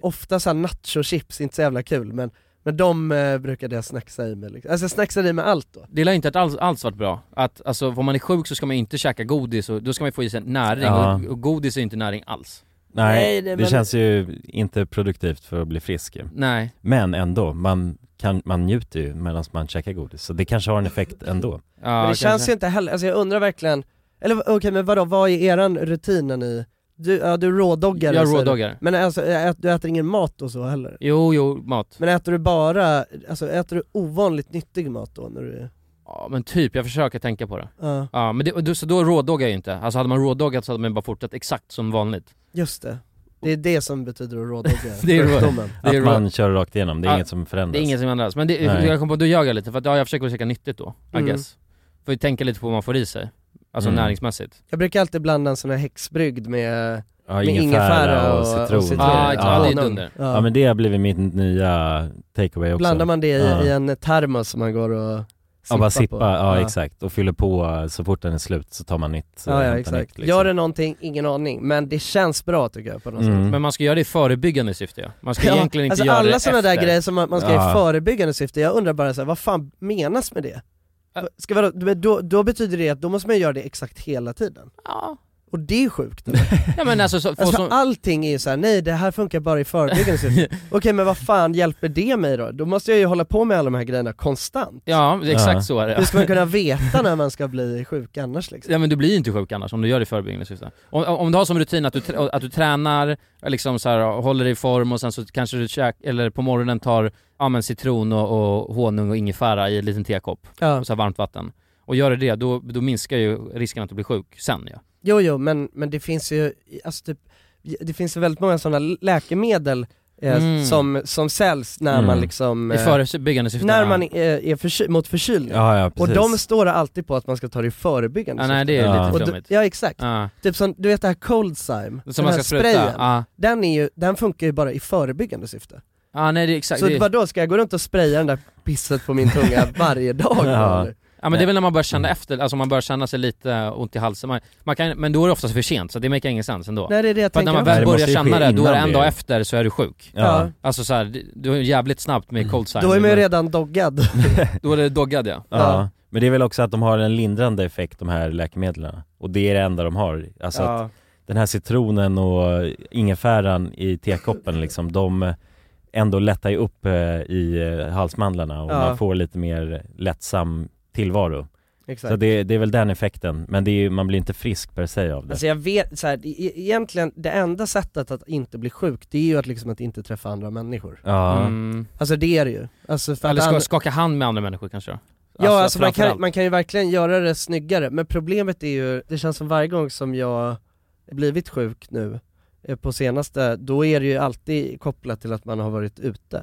S2: ofta såhär nachochips, inte så jävla kul men, men de eh, brukade jag snacksa i mig liksom. Alltså jag snacksade i mig allt då.
S1: Det lär inte att alls, alls varit bra. Att alltså, om man är sjuk så ska man inte käka godis och då ska man få i sig näring
S3: Ja.
S1: och, och godis är ju inte näring alls.
S3: Nej,
S2: Nej,
S3: det,
S2: det- men-
S3: känns ju inte produktivt för att bli frisk ju.
S1: Nej.
S3: Men ändå, man, kan, man njuter ju medan man käkar godis. Så det kanske har en effekt ändå.
S1: Ja,
S2: men det känns
S1: kanske.
S2: ju inte heller, alltså jag undrar verkligen, eller okej men vadå, vad är eran rutin när ni, du, ja, du rådoggar
S1: Jag
S2: säger du.
S1: rådoggar.
S2: Men alltså ä- du äter ingen mat och så heller?
S1: Jo, jo, mat.
S2: Men äter du bara, alltså äter du ovanligt nyttig mat då när du,
S1: Ja men typ, jag försöker tänka på det.
S2: ja
S1: Ja men det, och då- så då rådoggar jag ju inte. Alltså hade man rådoggat så hade man bara fortsatt exakt som vanligt.
S2: Just det, det är det som betyder att rådogga
S1: Det är rå-
S2: sjukdomen.
S1: Det är
S3: Att
S1: rå-
S3: man kör rakt igenom, det är
S1: Ja,
S3: inget som förändras.
S1: Det är inget som ändras. Men det,
S3: Nej.
S1: jag kom på, då gör jag lite för att ja, jag försöker käka nyttigt då, I
S2: Mm.
S1: guess. Får ju tänka lite på vad man får i sig. Alltså
S3: Mm.
S1: näringsmässigt.
S2: Jag brukar alltid blanda en sån här häxbrygd med,
S3: ja,
S2: med
S3: ingefära och, citron.
S1: citron. Ja, exakt. Ja, det är
S2: honung.
S1: dunder.
S2: Ja.
S3: Ja men det har blivit mitt nya takeaway också.
S2: Blandar man det i,
S3: Ja.
S2: i en termos som man går och sippar
S3: ja, bara sippa,
S2: på.
S3: ja, exakt. Och fyller på eh, så fort den är slut så tar man nytt. eh,
S2: Ja, ja
S3: hämtar
S2: exakt.
S3: nytt, liksom.
S2: Gör det någonting, ingen aning, men det känns bra tycker jag på något sätt.
S3: mm.
S1: Men man ska göra det i förebyggande syfte ja. Man ska egentligen inte
S2: alltså
S1: göra det
S2: alla sådana där
S1: efter.
S2: grejer som man, man ska
S3: Ja.
S2: i förebyggande syfte, jag undrar bara så här, vad fan menas med det?
S1: Ä-
S2: Ska vadå, men då, då betyder det att då måste man göra det exakt hela tiden.
S1: Ja.
S2: Och det är sjukt.
S1: ja men alltså, så, få
S2: Alltså
S1: som,
S2: för allting är ju såhär, nej det här funkar bara i förebyggande syfte. Okej men vad fan hjälper det mig då? Då måste jag ju hålla på med alla de här grejerna konstant.
S1: Ja, det är exakt
S3: Ja.
S1: så är det.
S2: Hur ska man kunna veta när man ska bli sjuk annars liksom?
S1: Ja men du blir ju inte sjuk annars om du gör det i förebyggande syfte. Om, om du har som rutin att du, trä- att du tränar, liksom så här, håller dig i form och sen så kanske du käk, eller på morgonen tar ja, men citron och, och honung och ingefära i en liten tekopp
S2: Ja.
S1: och så här varmt vatten. Och gör du det, då, då minskar ju risken att du blir sjuk sen ja.
S2: Jo jo men, men det finns ju, alltså typ det finns ju väldigt många sådana läkemedel eh,
S1: Mm.
S2: som, som säljs när
S3: Mm.
S2: man liksom,
S1: I
S2: eh,
S1: förebyggande syfte?
S2: när
S1: ja.
S2: man eh, är, är förky- mot förkylning.
S3: Ja, ja,
S2: och
S3: precis.
S2: de står det alltid på att man ska ta det i förebyggande
S1: Ja, nej
S2: syfte.
S1: det är
S3: Ja.
S1: lite
S2: Och d-
S1: flummigt.
S2: ja exakt,
S1: Ja.
S2: typ som, du vet det här Coldzyme,
S1: Som
S2: den
S1: man
S2: här
S1: ska spruta?
S2: sprayen,
S1: Ja,
S2: den, är ju, den funkar ju bara i förebyggande syfte.
S1: ja nej det är exakt.
S2: Så
S1: det är...
S2: vadå, ska jag gå runt och spraya den där pisset på min tunga varje dag?
S3: Ja.
S2: eller?
S1: Ja men det är väl när man börjar känna efter, alltså man börjar känna sig lite ont i halsen. Man, man kan, men då är det oftast för sent så det make ingen sense ändå.
S2: Nej det är det jag
S1: För att
S2: tänker
S1: när man
S2: också.
S1: väl
S3: Nej, det
S1: börjar
S3: måste ju
S1: känna
S3: ske
S1: det, då är det
S3: innan
S1: en dag
S3: det.
S1: efter så är du sjuk.
S2: Ja. Mm.
S3: Ja.
S1: Alltså så här, du är jävligt snabbt med cold sign.
S2: Då är man ju redan doggad.
S1: Då är det doggad ja.
S3: Ja. Men det är väl också att de har en lindrande effekt de här läkemedlen. Och det är det enda de har. Alltså att den här citronen och ingefäran i tekoppen liksom, de ändå lättar ju upp eh, i eh, halsmandlarna och
S2: Ja.
S3: man får lite mer lättsam tillvaro.
S2: Exakt.
S3: Så det, det är väl den effekten, men det är ju, man blir inte frisk per se av det.
S2: Alltså jag vet, så här, e- e- egentligen det enda sättet att inte bli sjuk det är ju att liksom att inte träffa andra människor.
S3: ja.
S1: Mm.
S2: Alltså det är det ju. Alltså för
S1: Eller
S2: att
S1: ska,
S2: andra-
S1: skaka hand med andra människor kanske då?
S2: ja alltså man kan,
S1: framförallt.
S2: man kan ju verkligen göra det snyggare, men problemet är ju, det känns som varje gång som jag blivit sjuk nu eh, på senaste, då är det ju alltid kopplat till att man har varit ute.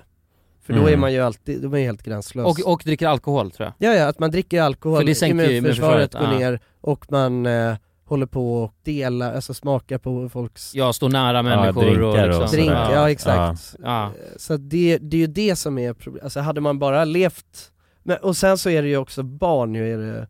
S2: För då
S3: Mm.
S2: är man ju alltid, då är man ju helt gränslös.
S1: och, och dricker alkohol tror jag.
S2: Ja, ja, att man dricker alkohol,
S1: För det sänker ju
S2: immunförsvaret
S1: immunförsvaret,
S2: går
S1: ja.
S2: ner och man eh, håller på och delar, alltså smakar på folks
S1: Jag står nära människor och
S3: drinkar och
S1: liksom.
S3: sådär.
S2: drink,
S3: sådär.
S2: ja exakt.
S1: Ja.
S2: Så det, det är ju det som är problemet, alltså hade man bara levt, men, och sen så är det ju också barn, ju är det,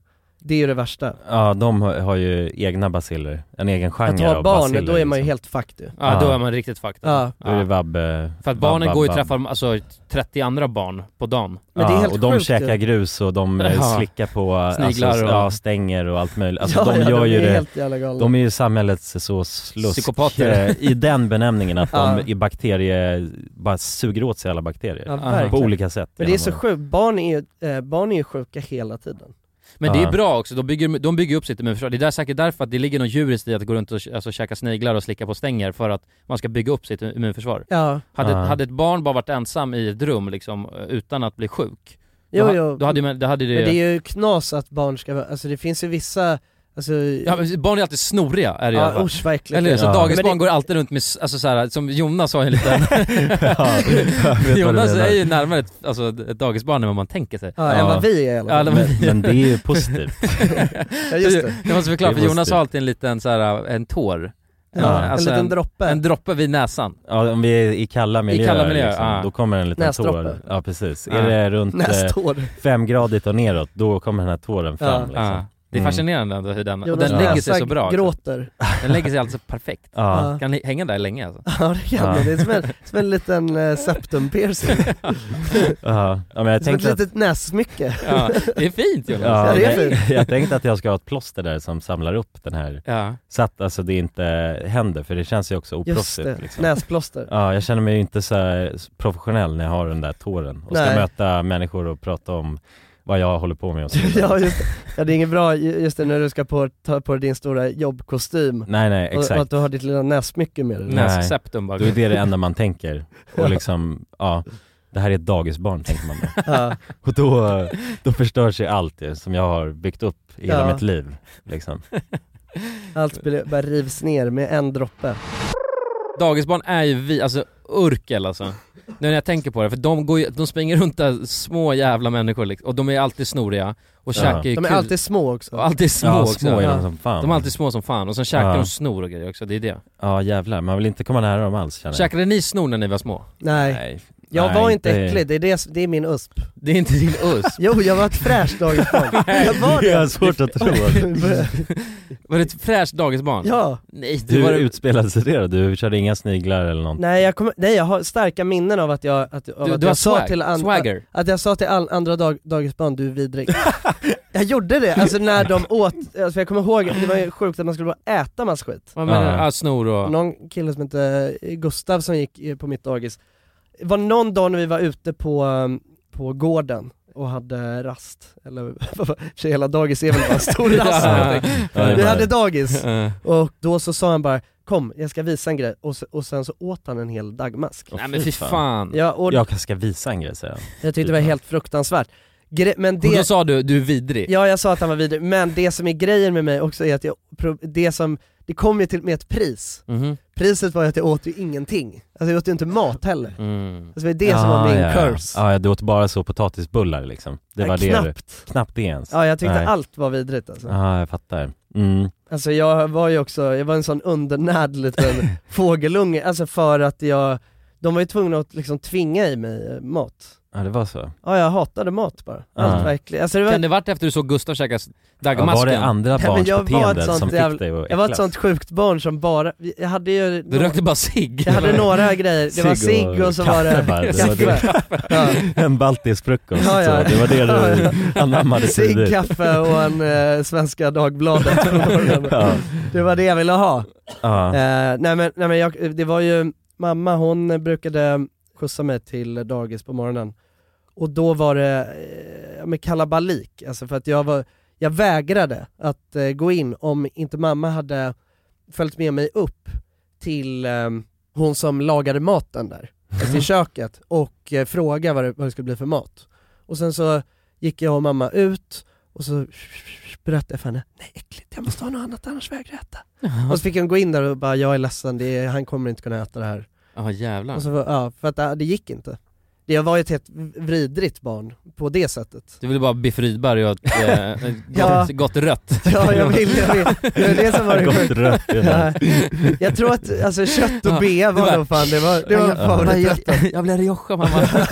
S2: det är ju det värsta.
S3: ja, de har, har ju egna basiller, en egen genre
S2: Att ha
S3: av
S2: barn,
S3: baciller,
S2: då är man ju
S3: liksom.
S2: helt fucked ju.
S1: ja, då
S3: Ja.
S1: är man riktigt fucked.
S2: Ja.
S3: Då är det vabb, eh,
S1: För att
S3: vabb,
S1: barnen
S3: vabb,
S1: går ju och
S3: vabb.
S1: träffar alltså 30 andra barn på dagen.
S2: Men det är helt
S3: och de
S2: sjukt ju.
S3: käkar grus och de eh,
S1: Ja.
S3: slickar på
S1: Sniglar
S3: alltså,
S1: och-
S3: ja, stänger och allt möjligt. Alltså
S2: Ja,
S3: de
S2: ja,
S3: gör ju
S2: är
S3: det,
S2: helt jävla galna.
S3: de är ju samhällets så slusk
S1: Psykopater.
S3: eh, i den benämningen att
S2: Ja.
S3: de i bakterier bara suger åt sig alla bakterier.
S2: ja,
S1: På
S3: På
S2: verkligen.
S3: olika sätt.
S2: Men det är
S3: genom
S2: så
S3: åren.
S2: sjukt, barn är ju, eh, barn är ju sjuka hela tiden.
S1: Men det är
S3: Ja.
S1: bra också, de bygger, de bygger upp sitt immunförsvar. Det är där, säkert därför att det ligger något djuriskt i att gå runt och alltså, käka sniglar och slicka på stänger för att man ska bygga upp sitt immunförsvar.
S2: Ja,
S1: Hade,
S3: Ja.
S1: hade ett barn bara varit ensam i ett rum liksom, eh, utan att bli sjuk,
S2: jo
S1: då, ha-
S2: jo.
S1: Då, hade, ju- då hade det...
S2: Men det är ju knas att barn ska vara, alltså det finns ju vissa, alltså,
S1: ja, men barn är alltid snoriga är det i alla
S2: ja
S1: fall.
S2: usch verkligen.
S1: Eller hur? så
S3: Ja.
S1: dagisbarn
S2: Men det-
S1: går alltid runt med, s- alltså så här, som Jonas har en liten...
S3: Ja, jag vet vad du
S1: Jonas är
S3: menar.
S1: ju närmare ett, alltså, ett dagisbarn än vad man tänker sig.
S2: Ja, än
S3: Ja.
S2: vad vi är i alla fall.
S1: Ja, de-
S3: Men det är ju positivt.
S2: Ja, just det.
S1: Jag måste förklara,
S3: Det
S1: för
S3: måste
S1: Jonas
S3: du.
S1: har alltid en liten så här, en tår.
S2: Ja,
S1: alltså
S2: en liten
S1: en-
S2: droppe.
S1: En droppe vid näsan.
S3: Ja, om vi är i kalla miljöer
S1: kalla miljöer,
S3: liksom,
S1: ja.
S3: då kommer en liten
S2: Näsdroppe.
S3: tår. Ja precis.
S1: Ja.
S3: Är det runt eh,
S2: Nästår.
S3: femgradigt och neråt, då kommer den här tåren fram
S2: Ja.
S3: liksom.
S1: Ja. Det är
S3: Mm.
S1: fascinerande ändå hur den, och
S2: Jonas
S1: den lägger sig
S2: näsa
S1: så
S7: typ.
S1: bra. också.
S2: gråter.
S1: Den lägger sig alltså perfekt.
S3: Ja.
S2: Ja.
S1: Kan li- hänga där länge alltså.
S2: Ja det kan
S3: Ja.
S2: det, det är som en, som en liten eh, septumpiercing.
S3: Ja. ja, men jag
S2: Som ett
S3: tänkte att
S2: litet nässmycke.
S1: Ja, det är fint Jonas.
S3: Ja,
S2: Ja, det är
S3: nej,
S2: fint.
S3: jag tänkte att jag ska ha ett plåster där som samlar upp den här,
S1: Ja.
S3: så att alltså det inte händer, för det känns ju också
S2: Just det,
S3: oproffsigt liksom.
S2: näsplåster.
S3: Ja, jag känner mig ju inte så här professionell när jag har den där tåren och ska
S2: Nej.
S3: möta människor och prata om vad jag håller på med och så vidare.
S2: Ja just det. Ja det är inget bra, ju- just det när du ska på, ta på dig din stora jobbkostym
S3: Nej nej,
S2: och, och att
S3: exakt.
S2: du har ditt lilla nässmycke med dig.
S3: Nej.
S1: Nässeptum bara.
S3: Då är det det enda man tänker.
S2: Ja.
S3: Och liksom, ja, det här är ett dagisbarn tänker man då.
S2: Ja.
S3: Och då, då förstörs ju allt det som jag har byggt upp i hela
S2: Ja.
S3: mitt liv. Liksom.
S2: Allt blir- bara rivs ner med en droppe.
S1: Dagisbarn är ju vi, alltså urkel alltså. Nu när jag tänker på det, för de, går ju, de springer runt där små jävla människor liksom, och de är alltid snoriga och
S3: Ja.
S1: käkar ju
S2: De är
S1: kul-
S2: alltid små också.
S1: och alltid små
S3: ja,
S1: också.
S3: små är
S2: Ja.
S3: de som fan.
S1: De är alltid små som fan och sen käkar
S3: Ja.
S1: de snor och grejer också, det är det.
S3: Ja jävlar, man vill inte komma nära dem alls känner jag.
S1: Käkade ni snor när ni var små?
S2: Nej, jag
S3: Nej,
S2: var inte äcklig, det är, det, det är min USP.
S1: Det är inte din USP.
S2: Jo, jag var ett fräscht dagisbarn. Jag var
S3: Jag har
S2: det.
S3: svårt att tro.
S1: Var det ett fräscht dagisbarn?
S2: Ja,
S1: Nej, du var
S3: Hur utspelade sig det då? Du körde inga sniglar eller något?
S2: nej jag, kommer, nej jag har starka minnen av att jag, att, av
S1: du,
S2: att
S1: du har
S2: jag sa
S1: swag,
S2: till an-
S1: swagger.
S2: Att jag sa till all, andra dag, dagisbarn, du är vidrig. jag gjorde det, alltså när de åt, alltså jag kommer ihåg, det var ju sjukt att man skulle bara äta massa skit.
S1: Vad menar
S3: Ja.
S1: du? Ja, snor och...
S2: Någon kille som hette Gustav som gick eh, på mitt dagis, det var någon dag när vi var ute på, um, på gården och hade rast, eller för sig hela dagis är väl bara en stor rast. helt enkelt.
S3: Ja, det är
S2: Vi
S3: bara-
S2: hade dagis.
S1: Eh,
S2: Och då så sa han bara 'Kom, jag ska visa en grej' och, så, och sen så åt han en hel dagmask
S3: Åh,
S1: Nej men fy fan.
S2: Ja, och
S3: Jag ska visa en grej säger han.
S2: jag tyckte det var helt fruktansvärt gre- men
S1: Och då
S2: det,
S1: sa du, du är vidrig.
S2: ja jag sa att han var vidrig, men det som är grejen med mig också är att jag, pro- det som, det kom ju till med ett pris.
S1: Mhm.
S2: Priset var ju att jag åt ju ingenting. Alltså jag åt ju inte mat heller. Alltså
S1: Mm.
S2: det var ju det som var min
S3: Ah, ja,
S2: curse.
S3: Ja. ja, du åt bara så potatisbullar liksom. Det
S2: Ja,
S3: var det du,
S2: knappt.
S3: knappt det ens.
S2: Ja jag tyckte
S3: Nej.
S2: allt var vidrigt alltså.
S3: Ja, jag fattar. Mm.
S2: Alltså jag var ju också, jag var en sån undernärd liten fågelunge, alltså för att jag, de var ju tvungna att liksom tvinga i mig eh, mat.
S3: Ja, det var så.
S2: Ja jag hatade mat bara,
S3: Ja.
S2: allt verkligen. Alltså det var,
S1: Kan det varit efter du såg Gustav käka
S3: Ja, var
S1: daggmasken?
S3: det andra
S2: Nej, men
S3: barns
S2: jag var ett
S3: beteenden
S2: sånt
S3: som
S2: jävla-
S3: fick dig att
S2: jag var ett
S3: äcklas?
S2: sånt sjukt barn som bara, jag hade ju
S1: du rökte bara cigg?
S2: jag hade några grejer, det var cigg och så var
S3: kaffe
S2: det
S3: bara. det var det.
S2: kaffe, ja.
S3: En baltisk frukost,
S2: Ja, ja.
S3: Så det var det du
S2: Ja,
S3: anammade
S2: cigg,
S3: tidigt.
S2: kaffe och en eh, Svenska Dagbladet på morgonen.
S3: Ja,
S2: Det var det jag ville ha.
S3: ja.
S2: Eh, nej men, nej, men jag, det var ju, mamma hon brukade skjutsa mig till dagis på morgonen och då var det eh, med kalabalik, alltså för att jag var, jag vägrade att eh, gå in om inte mamma hade följt med mig upp till eh, hon som lagade maten där, alltså i köket och eh, fråga vad det, vad det skulle bli för mat. Och sen så gick jag och mamma ut och så berättade jag för henne, nej äckligt jag måste ha något annat annars vägrar jag äta. Och så fick hon gå in där och bara, jag är ledsen, det är, han kommer inte kunna äta det här.
S1: Ja jävlar.
S2: Och så, var- ja, för att äh, det gick inte. Det- Jag var ju ett helt vridrigt barn på det sättet.
S1: Du ville bara Biff Rydberg och ett eh, gott,
S2: Ja.
S1: gott rött.
S2: Ja, jag vill, jag vill. Det var det som var det
S3: Gott
S2: sjuka.
S3: rött i den.
S2: Ja. Jag tror att alltså, kött och bea
S1: Det
S2: var
S1: var-
S2: nog fan, det var, det var
S1: jag,
S2: favoriträtten.
S1: jag, jag blev Rioja mamma.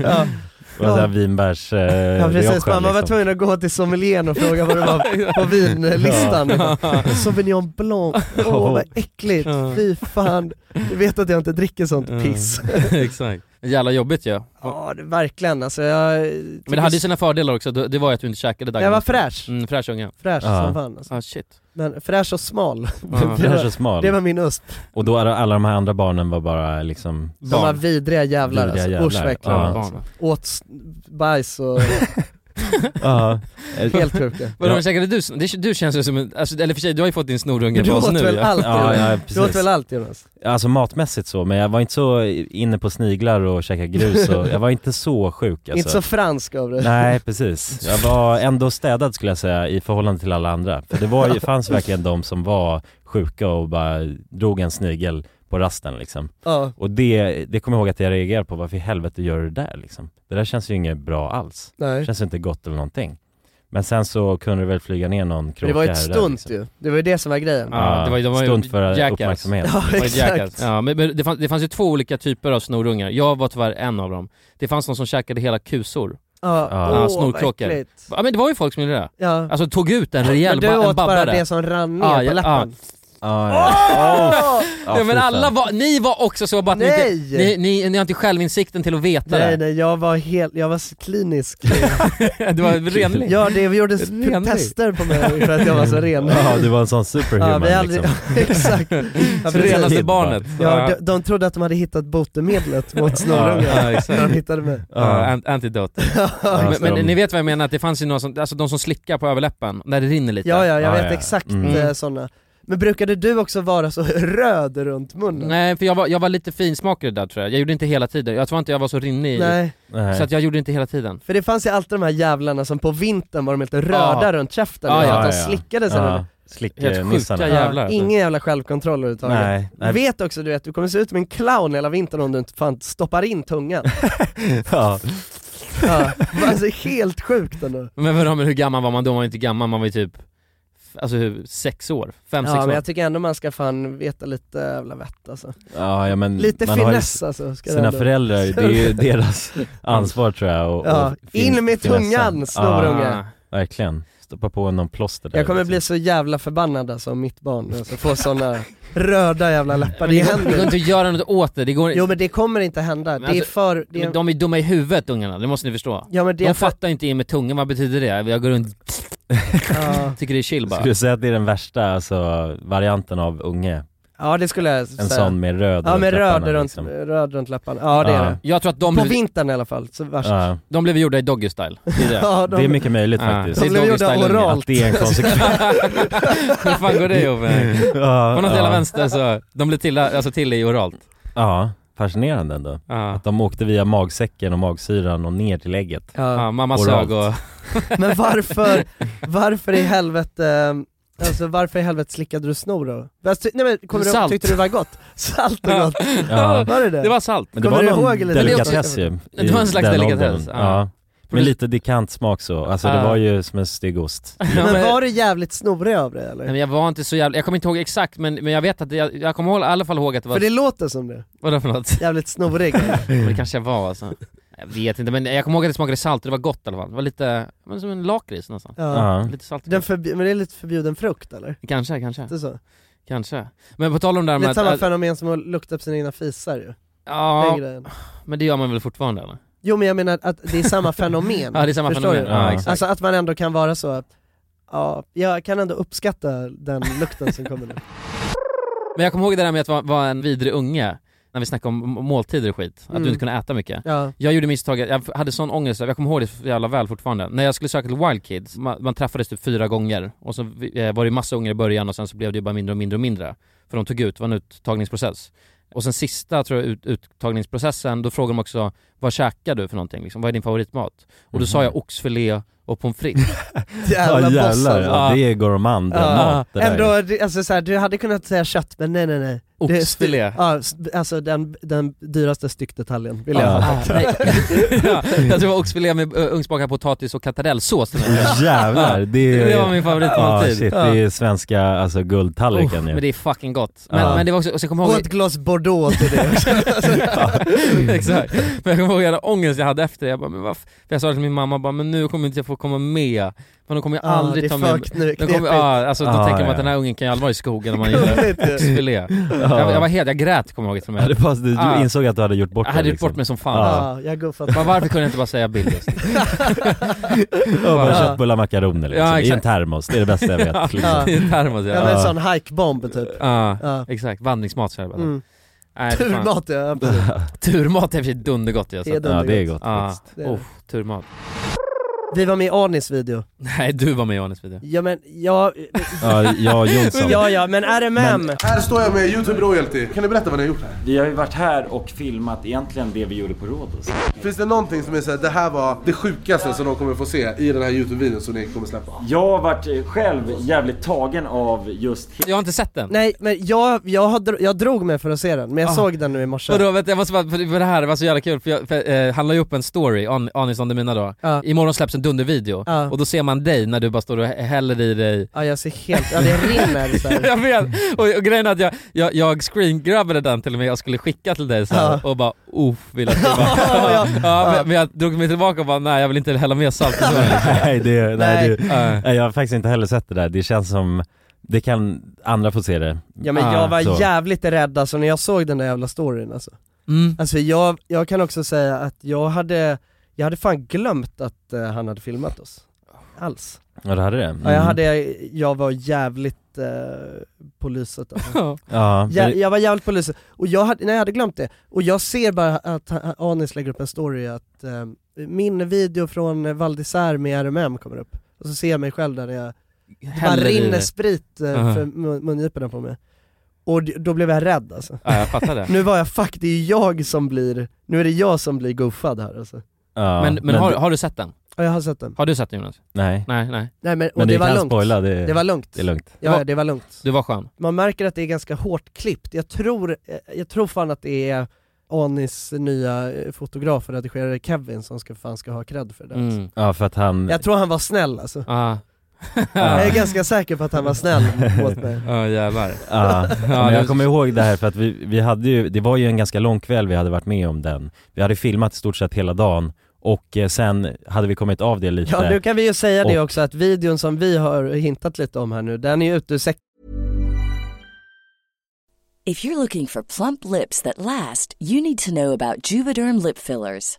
S3: Ja.
S2: Ja,
S3: Det var såhär vinbärs... eh,
S2: ja precis,
S3: rioja,
S2: mamma var
S3: liksom.
S2: tvungen att gå till sommelieren och fråga vad det var på vinlistan. Sauvignon blanc, åh vad äckligt, fy fan. Du vet att jag inte dricker sånt piss.
S1: Mm. Exakt. Jävla jobbigt ju. Ja.
S2: Ja, det, verkligen alltså. Jag,
S1: Men det hade ju sina fördelar också, Det- det var ju att du inte käkade daggmasken.
S2: Jag var fräsch.
S1: Mm, fräsch unge.
S2: Fräsch
S3: Ja.
S2: som fan alltså.
S1: Ah shit.
S2: Men fräsch och smal.
S1: Ja.
S3: Den är så smal.
S2: Det var min USP.
S3: Och då alla, alla de här andra barnen var bara liksom...
S2: De var vidriga jävlar
S3: Vidriga
S2: alltså.
S3: jävlar.
S2: Usch vad äckliga
S3: Ja.
S2: de var, alltså. Åt s- bajs och
S3: Ja. Eh,
S2: helt sjuka.
S1: Vadå,
S3: Ja.
S1: käkade du, sn- det- du känns ju som en, alltså, eller för sig, du har ju fått din snorunge
S2: Du
S1: på oss
S2: åt
S1: nu
S2: väl
S1: ju.
S2: allt
S3: Ja,
S2: Jonas?
S3: ja,
S2: Du åt
S3: precis.
S2: väl allt Jonas?
S3: Alltså matmässigt så, men jag var inte så inne på sniglar och käka grus och jag var inte så sjuk alltså.
S2: Inte så fransk av dig.
S3: Nej precis. Jag var ändå städad skulle jag säga i förhållande till alla andra. För det var ju, fanns verkligen de som var sjuka och bara drog en snigel på rasten liksom.
S2: Ja.
S3: Och det, det kommer jag ihåg att jag reagerade på, varför i helvete gör du det där liksom? Det där känns ju inget bra alls. Det
S2: Nej.
S3: känns ju inte gott eller någonting. Men sen så kunde det väl flyga ner någon kråka
S2: Det var ju
S3: här
S2: ett
S3: och där,
S2: stunt
S3: liksom.
S2: ju. Det var ju det som var grejen.
S1: Ja. det var ju- de var ju
S3: stunt Ah, för
S1: jackass.
S3: uppmärksamhet.
S2: Ja,
S1: Det var ett
S2: exakt.
S1: jäkla- Ja, men, men det, fanns, det fanns ju två olika typer av snorungar, jag var tyvärr en av dem. Det fanns någon som käkade hela kusor.
S2: Ja,
S3: Ja.
S2: åh,
S1: Snorkråkor.
S2: vad äckligt.
S1: Ja men det var ju folk som gjorde det.
S2: Ja.
S1: Alltså tog ut en
S2: Men
S1: rejäl
S2: du
S1: ba, en
S2: åt bara det
S1: babbare. Ah,
S2: som rann ner
S1: Ja,
S2: på
S1: ja,
S2: läppen.
S3: Ah, Ja, Oh! ja.
S2: Åh!
S1: Ja, men
S3: fy
S1: alla
S3: fan.
S1: var, ni var också så bara att ni,
S2: Nej!
S1: inte- ni, ni, ni har inte självinsikten till att veta
S2: Nej
S1: det.
S2: nej, jag var helt, jag var så klinisk.
S1: Det var en renling.
S2: Ja det gjordes
S1: Renlig.
S2: tester på mig för att jag var så ren.
S3: Ja, du var en sån superhuman
S2: Ja, vi aldrig,
S3: liksom.
S2: exakt. Ja,
S1: Så
S2: precis.
S1: renaste
S3: Kid
S1: barnet.
S2: Ja, de, de trodde att de hade hittat botemedlet mot snorungar
S1: ja, exakt.
S2: när de hittade mig.
S1: Ja, an- antidote.
S3: Ja, så
S1: men men
S3: de-
S1: ni vet vad jag menar, att det fanns ju någon som, alltså de som slickar på överläppen, när det rinner lite.
S2: Ja, ja, jag
S3: Ja,
S2: vet
S3: ja.
S2: exakt
S3: Mm.
S2: mm. sådana. Men brukade du också vara så röd runt munnen?
S1: Mm. Nej, för jag var, jag var lite finsmakare där tror jag. Jag gjorde inte hela tiden, jag tror inte jag var så rinnig i,
S2: Nej,
S3: Nej.
S1: så att jag gjorde inte hela tiden.
S2: för det fanns ju alltid de här jävlarna som på vintern var de helt röda
S1: Ja.
S2: runt käften,
S1: Ja,
S2: för
S1: ja,
S2: att de
S3: ja.
S2: slickade sig.
S3: Ja,
S2: Ja.
S1: Helt sjuka
S3: slicknissarna.
S1: jävlar. alltså.
S2: Ingen jävla självkontroll överhuvudtaget.
S3: Nej,
S2: Du
S3: nej.
S2: vet också du vet, du kommer se ut som en clown hela vintern om du inte fan stoppar in tungan.
S3: Ja.
S2: Ja. Alltså helt sjukt ändå.
S1: Men vadå, men hur gammal var man då? Man var inte gammal, man var ju typ, alltså hur, sex år? Fem, sex
S2: Ja
S1: år?
S2: men jag tycker ändå man ska fan veta lite jävla vett alltså.
S3: Ja, ja, men
S2: Lite
S3: man har ju
S2: finess alltså. Ska det
S3: Sina
S2: ändå-
S3: föräldrar, det är ju deras ansvar tror jag. Och,
S2: Ja,
S3: och fin-
S2: in med
S3: finessen.
S2: tungan, snorunge.
S1: Ah.
S3: Verkligen. Stoppa på någon plåster där.
S2: Jag kommer
S3: liksom.
S2: bli så jävla förbannad alltså om mitt barn alltså, får sådana röda jävla läppar, det
S1: Det går
S2: händer
S1: inte att göra något åt det, det går
S2: Jo men det kommer inte hända,
S1: Men
S2: det är
S1: alltså,
S2: för... Det
S1: men
S2: är...
S1: De är dumma i huvudet ungarna, det måste ni förstå.
S2: Ja men det är
S1: De
S2: för...
S1: fattar inte in med tungan, vad betyder det? Jag går runt och
S2: ja.
S1: tycker det är chill bara.
S3: Skulle du säga att det är den värsta alltså, varianten av unge?
S2: ja det skulle jag säga.
S3: En sån med röd
S2: ja
S3: runt
S2: men röd
S3: läpparna,
S2: runt,
S3: liksom.
S2: röd runt läpparna, ja det är
S3: Ja.
S2: det.
S1: Jag tror att de,
S2: På
S1: blev,
S2: vintern i alla fall, så värst.
S3: ja,
S1: de blev gjorda i doggy style. Det är det.
S2: Ja, de,
S3: Det är mycket möjligt
S1: Ja.
S3: faktiskt.
S2: de
S1: det är
S2: blev gjorda
S1: doggy style unge.
S2: oralt.
S3: Att det är en konsekvens.
S1: Hur fan går det ihop? På
S3: ja,
S1: något jävla
S3: ja,
S1: vänster så, de blev till, alltså till i oralt.
S3: ja. fascinerande ändå.
S1: Ja.
S3: Att de åkte via magsäcken och magsyran och ner till ägget.
S1: Ja, mamma
S3: Oralt.
S1: sög och...
S2: Men varför, varför i helvete, alltså varför i helvete slickade du snor då? Vad ty- Nej men kommer du ihåg,
S1: Salt.
S2: tyckte du det var gott? Salt och gott,
S3: Ja.
S2: var det det?
S1: Det var salt.
S3: Men det
S2: Kommer
S3: var
S2: du
S3: någon
S2: ihåg eller?
S3: delikatess ju.
S1: Det var en slags
S3: i den
S1: delikatess,
S3: åldern.
S1: ja.
S3: Ja. Med lite dekant smak så, alltså det
S1: Ja.
S3: var ju som en stygg ost.
S1: Ja,
S2: men,
S1: men-
S2: var du jävligt snorig av det eller?
S1: Nej, men jag var inte så jävla, jag kommer inte ihåg exakt men, men jag vet att det, jag, jag kommer ihåg, i alla fall ihåg att det var,
S2: För det låter som det,
S1: vadå för något?
S2: jävligt snorig.
S1: Men det kanske jag var alltså. Jag vet inte men jag kommer ihåg att det smakade salt och det var gott i alla fall. Det var lite, men som en lakrits nästan.
S2: Ja.
S3: Ja.
S1: Lite salt.
S2: Den förbj- men det är lite förbjuden frukt eller?
S1: Kanske, kanske,
S2: Inte så?
S1: kanske. Men på tal om det här med
S2: Lite
S1: att,
S2: samma
S1: äh,
S2: fenomen som att lukta på sina egna fisar ju. Den
S1: ja,
S2: grejen.
S1: men det gör man väl fortfarande eller?
S2: Jo men jag menar att det är samma fenomen.
S1: Ja det är samma
S2: Förstår
S1: fenomen.
S2: du?
S1: Ja,
S3: Ja.
S1: exakt.
S2: Alltså att man ändå kan vara så att, ja, jag kan ändå uppskatta den lukten som kommer nu.
S1: Men jag kommer ihåg det där med att vara, vara en vidrig unge, när vi snackade om m- måltider och skit, att
S2: Mm.
S1: du inte kunde äta mycket.
S2: Ja.
S1: Jag gjorde misstaget, jag hade sån ångest, jag kommer ihåg det så jävla väl fortfarande. När jag skulle söka till Wild Kids, man, man träffades typ fyra gånger och så eh, var det massa ungar i början och sen så blev det ju bara mindre och mindre och mindre. För de tog ut, det var en uttagningsprocess. Och sen sista tror jag, ut, uttagningsprocessen, då frågade de också vad käkar du för någonting liksom? Vad är din favoritmat? Och då sa
S3: Mhm.
S1: jag oxfilé och pommes frites.
S3: Ja
S2: Jävla boss
S3: jävlar,
S2: alltså.
S3: ja, det är gourmandmat det där.
S2: Ändå, det- alltså så här, du hade kunnat säga kött men nej nej nej. Det-
S1: Oxfilé.
S2: Ja, s- alltså den, den dyraste styckdetaljen vill
S3: Ja.
S2: jag ha.
S1: Ah, nej. ja, jag tror det var oxfilé med uh, ugnsbakad potatis och kantarellsås. till och med.
S3: Jävlar, det är...
S1: Det var min
S3: Ja,
S2: typ.
S1: favoritmåltid.
S3: Ah, shit, det är svenska alltså guldtallriken
S1: Oh,
S3: ju.
S1: men det är fucking gott. Men,
S3: Ja.
S1: men det var också, och så kommer jag
S2: Och
S1: ihåg
S2: ett glas bordeaux till det också.
S1: Exakt. Men jag kommer ihåg alla ångest jag hade efter det. Jag, bara, men varf-? För jag sa till min mamma bara, men nu kommer inte jag få komma med. Men de kommer jag
S2: Ja, Ah, det
S1: aldrig
S2: är
S1: ta med
S2: för
S1: mig.
S2: knu-
S1: De kommer,
S2: knepigt.
S1: ja, alltså, då
S3: Ah,
S1: tänker man att
S3: ja.
S1: den här ungen kan ju aldrig vara i skogen om man gör
S2: Knepigt ju.
S1: oxfilé. Jag, jag var helt, jag grät kommer jag ihåg till och
S3: Ja,
S1: med.
S3: det var, du
S1: Ah.
S3: insåg att du hade gjort bort
S1: Jag hade
S3: det liksom. Ah.
S1: gjort bort mig som fan.
S3: Ja.
S2: Ja, jag går för
S1: Men
S2: att...
S1: varför kunde jag inte bara säga Bill just?
S3: Ja, bara
S1: Ja.
S3: köttbullar och makaroner liksom,
S1: Ja,
S3: i en
S1: exakt.
S3: termos, det är det bästa jag vet.
S1: Ja,
S3: Liksom.
S1: I en termos
S2: Ja men
S1: ja.
S2: en sån hajkbomb typ.
S1: Ja,
S2: Ja.
S1: exakt. Vandringsmat så jag bara.
S2: Mm.
S1: Nej, fan.
S2: Turmat ja, absolut.
S1: Turmat är i och för sig dundergott ju.
S2: Det är
S1: alltså.
S3: Ja, det är
S2: dundergott.
S3: gott
S1: Ja,
S3: faktiskt.
S2: Det är det.
S1: oh, turmat.
S2: Vi var med i Arnis video.
S1: Nej, du var med i Anis video.
S2: Ja men, ja,
S3: Ja,
S2: Oh.
S3: jag och Jonsson.
S2: ja, ja men RMM.
S8: Här står jag med Youtube Royalty. Kan du berätta vad ni har gjort här?
S9: Vi har ju varit här och filmat egentligen det vi gjorde på Rhodos.
S8: Finns det någonting som är såhär, det här var det sjukaste som de kommer få se i den här Youtube-videon som ni kommer släppa?
S9: Jag har varit eh, själv jävligt tagen av just...
S1: Jag har inte sett den.
S2: Nej men jag, jag, har dro- jag drog mig för att se den, men jag såg den nu i morse.
S1: Ah. Vadå, vänta, jag måste bara, för för det här var så jävla kul, för jag för, eh, han la ju upp en story, An- Anis on the mina då.
S2: Ja.
S1: Imorgon släpps en dundervideo,
S2: Ja.
S1: och då ser man dig när du bara står och hä- häller i dig
S2: Ja jag ser helt, ja det rinner så här.
S1: jag vet! Och, och grejen är att jag, jag, jag screengrabbade den till och med, jag skulle skicka till dig så här, och bara uff, vill att du bara, ja, men, men jag drog mig tillbaka och bara nej jag vill inte hälla med salt i såren."
S3: nej, det, nej.
S2: Nej.
S3: det-
S1: Ja.
S3: nej, jag har faktiskt inte heller sett det där. Det känns som, det kan andra få se det.
S2: Ja men jag
S1: Ah,
S2: var
S3: så.
S2: jävligt rädd alltså när jag såg den där jävla storyn alltså.
S1: Mm.
S2: Alltså jag, jag kan också säga att jag hade, jag hade fan glömt att eh, han hade filmat oss. Alls.
S3: Ja, du hade det?
S2: Ja, jag
S3: Mm.
S2: hade, jag var jävligt eh, på lyset alltså.
S1: Mm.
S3: Ja,
S2: jag,
S3: men-
S2: jag var jävligt på lyset, och jag hade, nej, jag hade glömt det. Och jag ser bara att han- Anis lägger upp en story att eh, min video från eh, Val d'Isère med RMM kommer upp. Och så ser jag mig själv där när jag bara
S1: Häller i
S2: rinner
S1: dig.
S2: sprit eh,
S1: Aha.
S2: för mun- mungiporna på mig. Och d- då blev jag rädd alltså.
S1: Ja jag fattar det.
S2: Nu var jag fuck, det är ju jag som blir, nu är det jag som blir goofad här alltså.
S3: ja,
S1: Men, men har, har du sett den?
S2: Ja jag har sett den.
S1: Har du sett den Jonas?
S3: Nej,
S1: Nej, nej.
S2: Nej men, och
S3: men
S2: det,
S3: du
S2: var
S3: kan
S2: lugnt.
S3: spoila, det,
S2: det var lugnt.
S3: det är lugnt.
S2: Ja, ja, det var lugnt.
S1: Du var skön.
S2: Man märker att det är ganska hårt klippt. Jag tror, eh, jag tror fan att det är Anis nya eh, fotograf och redigerare Kevin som ska, fan ska ha cred för det. Alltså.
S1: Mm.
S3: Ja, för att han...
S2: Jag tror han var snäll alltså.
S1: Ah.
S2: Jag är ganska säker på att han var snäll mot mig.
S5: Ah,
S1: Ja jävlar.
S3: Ah. Ja, men
S1: det-
S3: jag kommer ihåg det här för att vi, vi hade ju, det var ju en ganska lång kväll vi hade varit med om den. Vi hade filmat i stort sett hela dagen och eh, sen hade vi kommit av det lite.
S2: Ja nu kan vi ju säga det
S3: typ Och-
S2: också att videon som vi har hintat lite om här nu, den är ju ute ur säcken
S4: If you're looking for plump lips that last, you need to know about Juvederm lip fillers.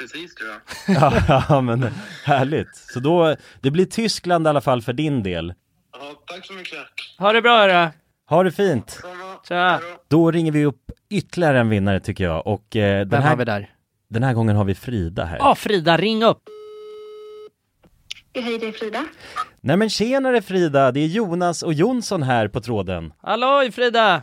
S10: precis tror jag.
S3: ja, men härligt. Så då, det blir Tyskland i alla fall för din del.
S5: Ha det bra hörru.
S3: Ha det fint!
S5: Tja.
S3: Då ringer vi upp ytterligare en vinnare tycker jag och eh, den
S5: Vem
S3: här,
S5: har vi där?
S3: Den här gången har vi Frida här.
S5: Ja Frida, ring upp.
S11: Hej, det är Frida.
S3: Nej men tjenare Frida, det är Jonas och Jonsson här på tråden.
S5: Halloj Frida!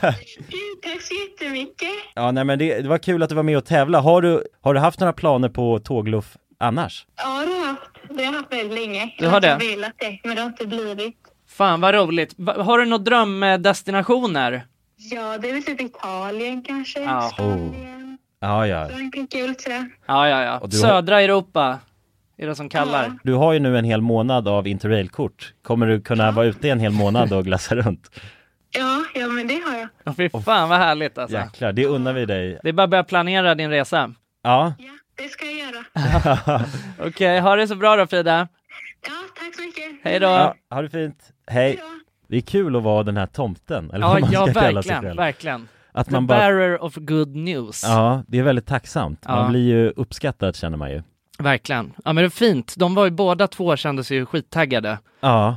S11: Tack så jättemycket.
S3: Ja, nej men det, det var kul att du var med och tävla. Har du, har du haft några planer på tågluff annars?
S11: Ja, det har jag haft. Det har jag haft väldigt länge.
S5: Du har det?
S11: Jag har velat det, men det har inte blivit.
S5: Fan vad roligt. Va- har du några drömdestinationer?
S11: Ja, det är väl typ Italien kanske.
S5: Ja.
S3: Ja, ja.
S11: Kul tror jag.
S5: Ja, ja, ja.
S3: Och du har-
S5: Södra Europa är det som kallar.
S3: Du har ju nu en hel månad av interrailkort. Kommer du kunna vara ute en hel månad och glassa runt?
S11: Ja, ja men det har jag.
S5: Fy fan vad härligt alltså.
S3: Jäklar, det unnar vi dig.
S5: Det är bara att börja planera din resa.
S3: Ja,
S11: Det ska jag göra.
S12: Okej, ha det så bra då Frida.
S11: Tack så mycket.
S12: Hej då.
S3: Ja, ha det fint. Hej. Det är kul att vara den här tomten, eller
S12: Ja,
S3: vad man
S12: ja
S3: ska kalla sig
S12: verkligen,
S3: själv.
S12: verkligen.
S3: Att
S12: The
S3: man bara,
S12: bearer of good news.
S3: ja, det är väldigt tacksamt.
S12: Ja.
S3: Man blir ju uppskattad känner man ju.
S12: Verkligen. Ja men det är fint, de var ju båda två kändes ju skittaggade.
S3: Ja.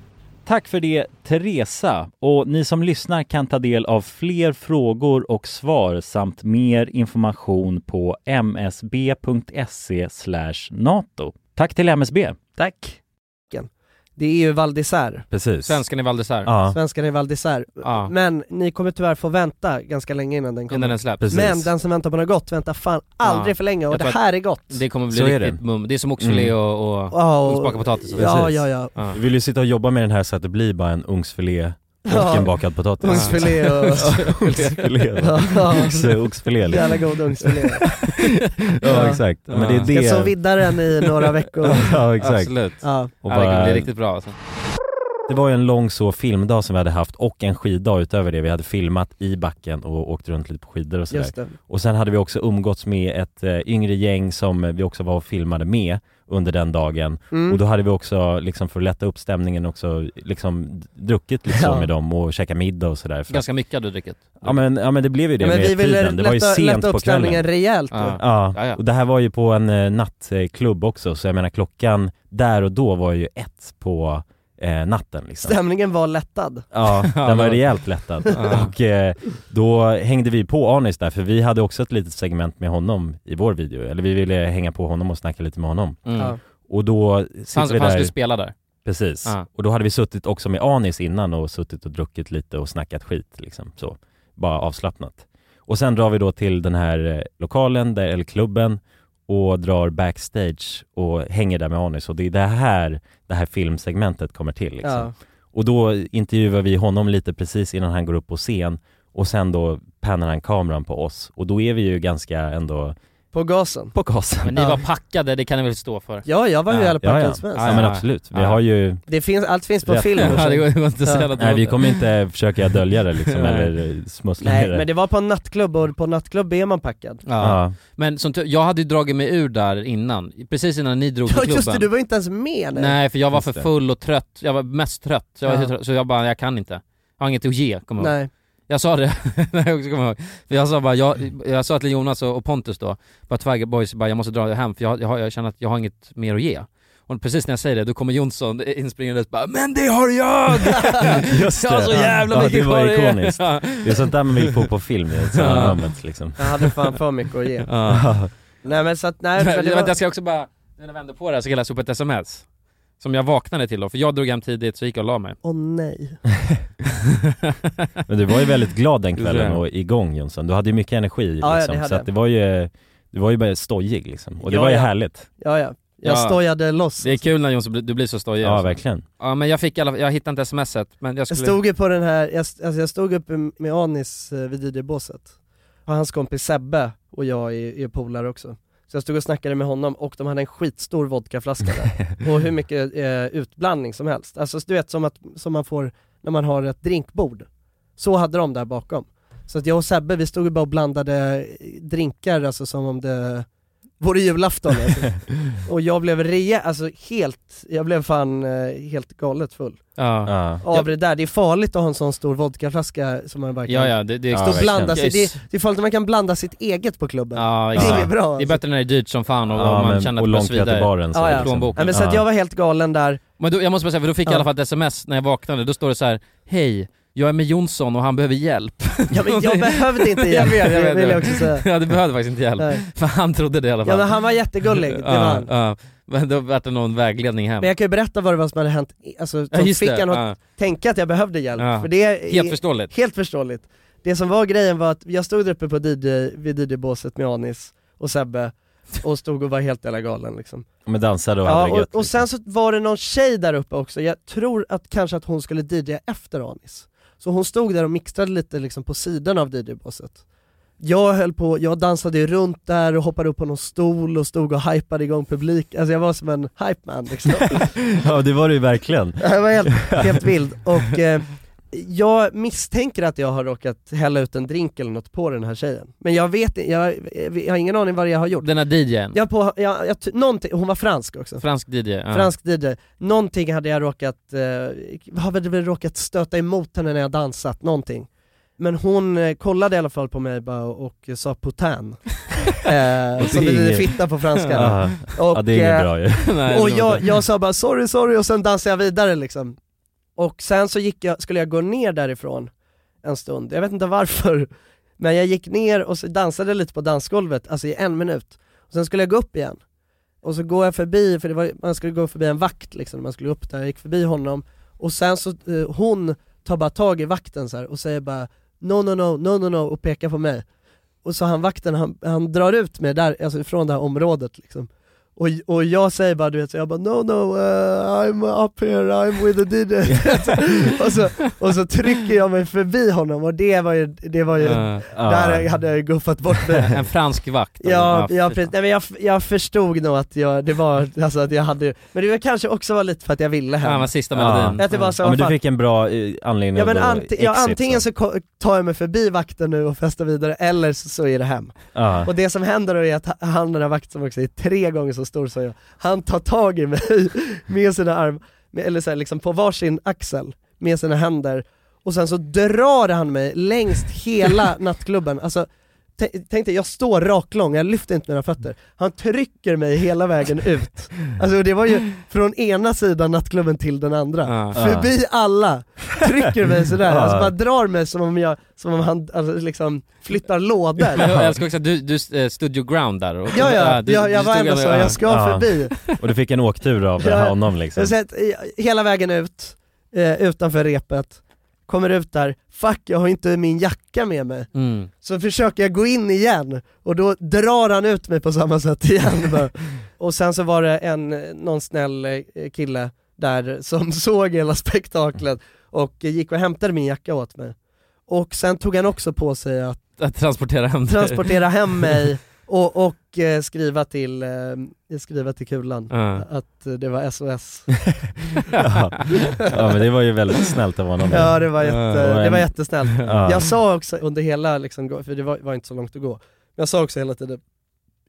S3: Tack för det Teresa och ni som lyssnar kan ta del av fler frågor och svar samt mer information på msb.se E NATO. Tack till MSB.
S2: Tack. Det är ju Val d'Isère.
S3: Precis.
S1: Svenskan i Val d'Isère.
S3: Ja.
S2: Svenskarna i Val d'Isère.
S1: Ja.
S2: Men ni kommer tyvärr få vänta ganska länge innan den kommer.
S1: Innan den släpps. Precis.
S2: Men den som väntar på något gott väntar fan aldrig
S1: Ja.
S2: för länge och
S1: Jag
S2: det
S1: tror att
S2: här är gott.
S1: Det kommer bli
S3: Så är
S1: riktigt
S3: det.
S1: mum. Det är som oxfilé
S3: Mm.
S1: och, och
S2: Ja, och-
S1: ugnsbakapotatis.
S2: Ja, Precis. ja, ja.
S3: Vi vill ju sitta och jobba med den här så att det blir bara en ugnsfilé och en bakad potatis.
S2: Ugnsfilé och...
S3: Oxfilé.
S2: Ja.
S3: Oxe- oxfilé liksom.
S2: Jävla god ugnsfilé.
S3: Ja, exakt. Men det är det-
S2: Ska så vidda den i några veckor.
S3: ja exakt.
S1: Absolut.
S2: Ja.
S3: Och
S1: Ja, det kommer
S3: bara-
S1: bli riktigt bra alltså.
S3: Det var ju en lång så filmdag som vi hade haft och en skiddag utöver det. Vi hade filmat i backen och åkt runt lite på skidor och sådär.
S2: Just det.
S3: Och sen hade vi också umgåtts med ett eh, yngre gäng som eh, vi också var och filmade med under den dagen.
S2: Mm.
S3: Och då hade vi också, liksom för att lätta upp stämningen också, liksom druckit lite så
S2: Ja.
S3: med dem och käkat middag och sådär. För-
S1: Ganska mycket hade du druckit.
S3: Ja men, ja men det blev ju det
S2: Ja, men
S3: med
S2: vi ville
S3: tiden, det var ju
S2: lätta-
S3: sent
S2: lätta upp
S3: på kvällen.
S2: stämningen rejält då.
S3: ja.
S1: Ja. Ja, ja.
S3: och det här var ju på en eh, nattklubb också så jag menar klockan där och då var ju ett på eh, natten liksom.
S2: Stämningen var lättad.
S3: Ja, den var rejält lättad.
S2: Ja.
S3: Och eh, då hängde vi på Arnis där, för vi hade också ett litet segment med honom i vår video. Eller vi ville hänga på honom och snacka lite med honom.
S1: Mm. Ja.
S3: Och då sitter
S1: Han-
S3: vi
S1: han
S3: där...
S1: skulle spela där.
S3: Precis.
S1: Ja.
S3: Och då hade vi suttit också med Anis innan och suttit och druckit lite och snackat skit liksom så. Bara avslappnat. Och sen drar vi då till den här eh, lokalen, där, eller klubben och drar backstage och hänger där med Anis och det är det här det här filmsegmentet kommer till liksom.
S5: Ja.
S3: Och då intervjuar vi honom lite precis innan han går upp på scen och sen då pannar han kameran på oss och då är vi ju ganska ändå
S2: På gasen?
S3: På gasen.
S1: Men ni var packade, det kan ni väl stå för?
S2: Ja, jag var ju
S3: ja, ja, ja. ja men absolut, vi har ju
S2: Det finns, allt finns på
S3: Rätt.
S2: film.
S3: Ja, det går- det går inte att säga
S2: Ja.
S3: något Nej, vi kommer inte försöka dölja det liksom, eller smussla
S2: Nej,
S3: med det.
S2: men det var på en nattklubb och på en nattklubb är man packad.
S1: Ja. Men som tur- jag hade ju dragit mig ur där innan, precis innan ni drog till
S2: Ja
S1: klubben
S2: just det, du var inte ens med nu.
S1: Nej för jag var
S2: Just
S1: för
S2: det.
S1: full och trött, jag var mest trött, så jag, var
S2: Ja.
S1: så trött, så jag bara, jag kan inte. Jag har inget att ge, kommer jag
S2: Nej.
S1: ihåg. Jag sa det, när jag också kommer ihåg. För jag sa bara, jag, jag sa till Jonas och och Pontus då, bara Tiger Boys, bara, jag måste dra hem för jag, jag, har- jag känner att jag har inget mer att ge. Och precis när jag säger det, då kommer Jonsson inspringandes bara 'Men det har jag!'
S3: Just
S1: jag har
S3: det.
S1: så jävla
S3: ja,
S1: mycket
S3: det var
S1: kvar att ge.
S3: ikoniskt. Det är sånt där man vill få på film i ett sådant
S1: Ja.
S3: moment liksom.
S2: Jag hade fan för mycket att ge.
S1: Ja.
S2: Nej men så att, nej men det
S1: Vänta,
S2: var...
S1: Jag ska också bara, när jag vände på det här så kan jag läsa upp ett sms. Som jag vaknade till då, för jag drog hem tidigt så gick jag och la mig.
S2: Åh nej.
S3: Men du var ju väldigt glad den kvällen
S1: Ja.
S3: och igång Jonsson. Du hade ju mycket energi
S2: Ja, ja,
S3: liksom,
S2: det hade
S3: så att
S2: jag.
S3: det var ju, du var ju bara stojig liksom. Och det
S1: Ja,
S3: var ju
S1: ja.
S3: härligt.
S2: Ja ja, jag
S1: Ja.
S2: stojade loss.
S1: Det är kul när Jonsson, blir- du blir så stojig
S3: Ja,
S1: alltså.
S3: verkligen.
S1: Ja men jag fick i alla jag hittade inte smset men jag
S2: Jag
S1: skulle...
S2: stod ju på den här, jag, alltså jag stod uppe med Anis eh, vid DJ-båset. Och hans kompis Sebbe och jag är, är polare också. Så jag stod och snackade med honom och de hade en skitstor vodkaflaska där. och hur mycket eh, utblandning som helst. Alltså du vet som, att, som man får när man har ett drinkbord. Så hade de där bakom. Så att jag och Sebbe vi stod ju bara och blandade eh, drinkar alltså som om det vore julafton alltså. Och jag blev re, alltså helt, jag blev fan eh, helt galet full
S1: Ja.
S2: av det där. Det är farligt att ha en sån stor vodkaflaska som man bara kan
S1: Ja, ja, det- det-
S2: stå
S1: Ja,
S2: och
S1: verkligen.
S2: blanda sig.
S1: Jag är s-
S2: Det, det är farligt att man kan blanda sitt eget på klubben.
S1: Ja,
S2: det
S1: exakt.
S2: är bra.
S1: Det är bättre när det är dyrt som fan och,
S3: Ja,
S1: och man
S3: men-
S1: känner att
S3: och
S1: det
S3: långt
S1: blåser vidare.
S3: till baren så
S1: ja,
S3: Ja,
S1: ja.
S3: ja.
S1: plånboken.
S2: Ja, men så att jag var helt galen där.
S1: Men då, jag måste bara säga, för då fick jag i
S2: Ja.
S1: alla fall ett sms när jag vaknade, då står det så här: Hej, jag är med Jonsson och han behöver hjälp.
S2: Ja, men jag behövde inte
S1: jag
S2: hjälp,
S1: vet, jag
S2: det
S1: vet.
S2: vill jag också säga.
S1: Ja du behövde faktiskt inte hjälp.
S2: Nej.
S1: För han trodde det i alla fall.
S2: Ja men han var jättegullig, det var
S1: Ja,
S2: han.
S1: ja. Men då vart det någon vägledning hem.
S2: Men jag kan ju berätta vad det var som hade hänt, i- alltså som
S1: just
S2: fick
S1: det,
S2: en att
S1: ja.
S2: tänka att jag behövde hjälp.
S1: Ja.
S2: För det är,
S1: Helt förståeligt.
S2: Helt förståeligt. Det som var grejen var att jag stod där uppe på DJ, vid DJ-båset med Anis och Sebbe och stod och var helt jävla galen liksom.
S3: Men dansade och
S2: ja,
S3: hade det gött. liksom.
S2: och, och sen så var det någon tjej där uppe också, jag tror att kanske att hon skulle DJa efter Anis. Så hon stod där och mixtrade lite liksom på sidan av DJ-båset. Jag höll på, jag dansade ju runt där och hoppade upp på någon stol och stod och hypade igång publik, alltså jag var som en hype man liksom.
S3: Ja det var det ju verkligen.
S2: Jag var helt, helt vild och eh, jag misstänker att jag har råkat hälla ut en drink eller något på den här tjejen. Men jag vet inte- jag, jag har ingen aning vad jag har gjort.
S1: Den här DJn,
S2: Jag på, jag, jag, ty- någonting, hon var fransk också.
S1: fransk DJ. Ja.
S2: Fransk DJ. Någonting hade jag råkat, eh, hade väl råkat stöta emot henne när jag dansat, någonting. Men hon eh, kollade i alla fall på mig bara och, och sa putain. eh, som betyder fitta på franska.
S3: Ja,
S2: Och,
S3: ja det är inget
S2: eh,
S3: bra ju.
S2: och jag, jag sa bara sorry, sorry och sen dansade jag vidare liksom. Och sen så gick jag, skulle jag gå ner därifrån en stund, jag vet inte varför. Men jag gick ner och så dansade lite på dansgolvet, alltså i en minut. Och sen skulle jag gå upp igen. Och så går jag förbi, för det var, man skulle gå förbi en vakt liksom, när man skulle upp där, jag gick förbi honom. Och sen så, eh, hon tar bara tag i vakten så här och säger bara no, no, no, no, no, no och pekar på mig. Och så han vakten, han, han drar ut mig där, alltså från det här området liksom. Och, och jag säger bara du vet, så jag bara no no, eh, I'm up here, I'm with the DJ. och, så, och så trycker jag mig förbi honom och det var ju, det var ju,
S1: Ja.
S2: där hade jag ju guffat bort mig.
S1: En fransk vakt.
S2: Ja,
S1: Ja,
S2: ja
S1: fy
S2: precis. Nej, men jag, jag förstod nog att jag, det var, alltså att jag hade, men det var kanske också var lite för att jag ville hem.
S1: Ja, men sista melodin.
S2: Att det var så,
S3: ja, men du
S2: fan.
S3: fick en bra eh, anledning
S2: Ja men
S3: att
S2: anti- ja, antingen så ko- tar jag mig förbi vakten nu och festar vidare, eller så, så är det hem.
S3: Ja.
S2: Och det som händer då är att ha- han den här vakten som också är tre gånger så stor som jag, han tar tag i mig med sina armar, eller så här, liksom på varsin axel, med sina händer, och sen så drar han mig längst hela nattklubben, alltså tä- Tänk dig, jag står raklång, jag lyfter inte mina fötter. Han trycker mig hela vägen ut. Alltså det var ju från ena sidan nattklubben till den andra.
S1: Ja.
S2: Förbi alla, trycker mig sådär,
S1: Ja.
S2: alltså bara drar mig som om jag, som om han alltså, liksom flyttar lådor.
S1: Jag älskar också att du, du eh, stood your ground där och,
S2: Ja, ja,
S1: du,
S2: jag- jag
S1: du
S2: var
S1: stod
S2: ändå
S1: ändå-
S2: så,
S1: ja.
S2: jag ska förbi.
S3: Och du fick en åktur av
S2: Ja.
S3: honom liksom.
S2: Så att, eh, hela vägen ut, eh, utanför repet, kommer ut där, fuck jag har inte min jacka med mig.
S13: Mm.
S2: Så försöker jag gå in igen och då drar han ut mig på samma sätt igen. bara. och sen så var det en, någon snäll eh, kille där som såg hela spektaklet och eh, gick och hämtade min jacka åt mig. Och sen tog han också på sig att
S1: Att transportera hem dig.
S2: transportera hem mig och, och eh, skriva, till, eh, skriva till Kulan
S3: Ja.
S2: att eh, det var SOS.
S3: ja. ja men det var ju väldigt snällt av honom
S2: Ja det var, jätte,
S3: Och
S2: det var
S3: en-
S2: jättesnällt.
S3: Ja.
S2: Jag sa också under hela, liksom, gå- för det var, var inte så långt att gå, jag sa också hela tiden,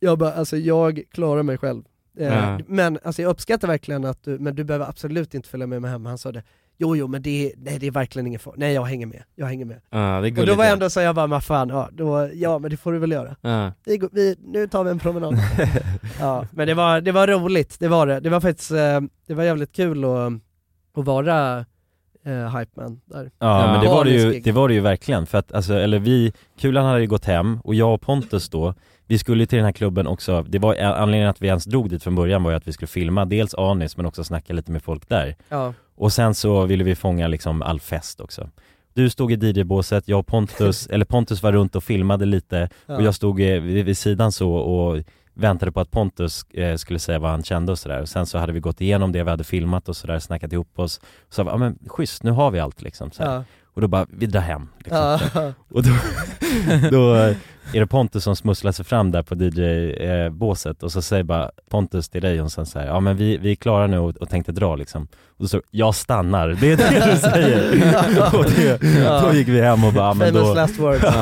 S2: jag bara, alltså jag klarar mig själv. Eh,
S13: Ja.
S2: Men alltså, jag uppskattar verkligen att du, men du behöver absolut inte följa med mig hem. Han sa det, jo jo men det, är- nej, det är verkligen ingen fara, nej jag hänger med, jag hänger med.
S1: Ja, det är
S2: och då
S1: gulligt,
S2: var
S1: ja.
S2: jag ändå så, jag bara, "Men fan, ja, då, ja men det får du väl göra.
S1: Ja.
S2: Vi, går, vi, nu tar vi en promenad. ja, men det var, det var roligt, det var det. Det var faktiskt, eh, det var jävligt kul att, att vara eh, hypeman där.
S3: Ja, men det var det, ju,
S2: Vanens
S3: det var det ju verkligen för att alltså, eller vi, Kulan hade ju gått hem och jag och Pontus då, vi skulle ju till den här klubben också, det var anledningen att vi ens drog dit från början var ju att vi skulle filma dels Anis men också snacka lite med folk där.
S2: Ja.
S3: Och sen så ville vi fånga liksom all fest också. Du stod i DJ-båset, jag och Pontus, eller Pontus var runt och filmade lite och
S2: Ja.
S3: jag stod eh, vid, vid sidan så och väntade på att Pontus eh, skulle säga vad han kände och sådär. Och Sen så hade vi gått igenom det vi hade filmat och sådär, snackat ihop oss. Och sa vi, ja men schysst, nu har vi allt liksom. Så här.
S2: Ja.
S3: Och då bara, vi drar hem. Liksom.
S2: Ja.
S3: Så. Och då, då eh, är det Pontus som smusslar sig fram där på eh, DJ-båset och så säger bara Pontus till dig och sen så här, ja men vi, vi är klara nu och, och tänkte dra liksom. Och då står det, jag stannar, det är det du säger. och det, då gick vi hem och bara, "Ja, men då...
S2: Famous last words.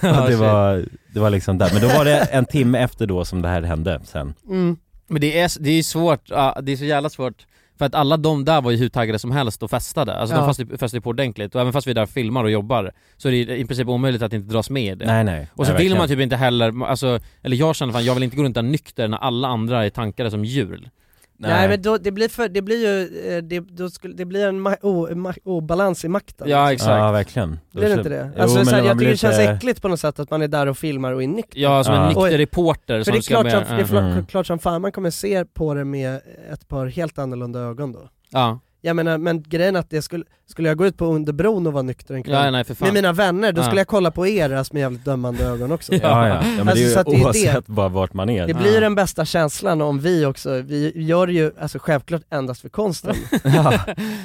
S3: Ja.
S1: Ja,
S3: Och det,
S1: shit.
S3: var, det var liksom där, men då var det en timme efter då som det här hände sen.
S2: Mm.
S1: Men det är, det är svårt, ja, det är så jävla svårt För att alla de där var ju hur taggade som helst och festade, alltså
S3: Ja.
S1: de festade, festade på ordentligt och även fast vi där filmar och jobbar Så är det ju i princip omöjligt att inte dras med i det
S3: Nej, nej.
S1: Och så
S3: Nej,
S1: vill man
S3: verkligen.
S1: typ inte heller, alltså, eller jag känner fan jag vill inte gå runt där nykter när alla andra är tankade som djur
S2: Nej. men då, det blir för, det blir ju, eh, det, då skulle, det blir en ma- o, ma- obalans i makten
S1: Ja,
S2: liksom.
S1: exakt.
S3: Ja verkligen.
S2: Blir det inte det? Alltså,
S3: men
S2: så här,
S3: man
S2: jag
S3: blir
S2: tycker det känns
S3: lite-
S2: äckligt på något sätt att man är där och filmar och är nykter
S1: Ja, som en
S3: Ja.
S1: nykter
S2: Oj.
S1: reporter
S2: För
S1: som
S2: det är,
S1: ska
S2: klart som,
S1: med,
S2: det är
S1: Mm.
S2: klart, klart som fan man kommer se på det med ett par helt annorlunda ögon då
S1: Ja.
S2: Jag menar, men grejen är att det skulle, skulle jag gå ut på Underbron och vara nykter en kväll
S1: Ja, nej, för fan.
S2: med mina vänner, då
S1: Ja.
S2: skulle jag kolla på er alltså, med jävligt dömande ögon också
S3: Ja, ja. ja men
S2: Alltså, så att
S3: det är ju oavsett bara vart man är.
S2: Det blir ju den bästa känslan om vi också, vi gör det ju alltså självklart endast för konsten.
S1: Ja,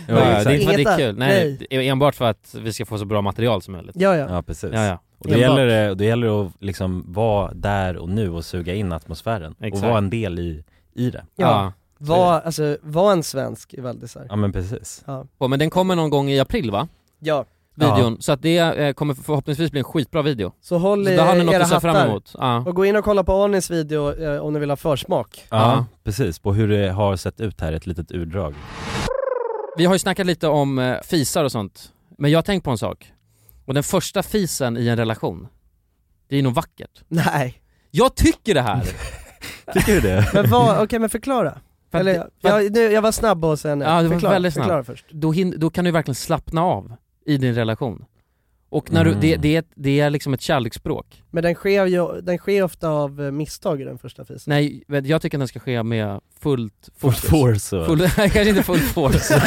S1: det är inte för att det
S2: Inget
S1: är
S2: an-
S1: kul, nej, det är enbart för att vi ska få så bra material som möjligt
S2: Ja, ja.
S3: Ja precis.
S1: Ja, ja.
S3: Och då gäller, det, då gäller det att liksom vara där och nu och suga in atmosfären
S1: Exakt.
S3: och vara en del i, i det.
S2: Ja. Var, alltså, var en svensk i Valdisar.
S3: Ja men precis.
S2: Ja.
S1: Och, men den kommer någon gång i april va?
S2: Ja.
S1: Videon, så att det eh, kommer förhoppningsvis bli en skitbra video
S2: Så håll
S1: så
S2: i
S1: där har ni något
S2: era
S1: att se
S2: hattar
S1: fram emot ja.
S2: och gå in och kolla på Anis video eh, om ni vill ha försmak.
S3: Ja, precis. På hur det har sett ut här, ett litet urdrag.
S1: Vi har ju snackat lite om eh, fisar och sånt, men jag har tänkt på en sak. Och den första fisen i en relation, det är nog vackert.
S2: Nej.
S1: Jag tycker det här!
S3: tycker du det?
S2: Men vad, okej men förklara.
S1: För att-
S2: Eller,
S1: för att-
S2: jag, nu, jag var snabb och sen,
S1: Ja, du var
S2: förklara,
S1: väldigt
S2: förklara
S1: snabb.
S2: först.
S1: Då, hin- då kan du verkligen slappna av i din relation. Och när
S2: Mm.
S1: du, det, det, är ett- det är liksom ett kärleksspråk.
S2: Men den sker ju, den sker ofta av eh, misstag i den första fisen.
S1: Nej, men jag tycker att den ska ske med fullt fokus.
S3: force, så.
S1: Full, nej, kanske inte full force.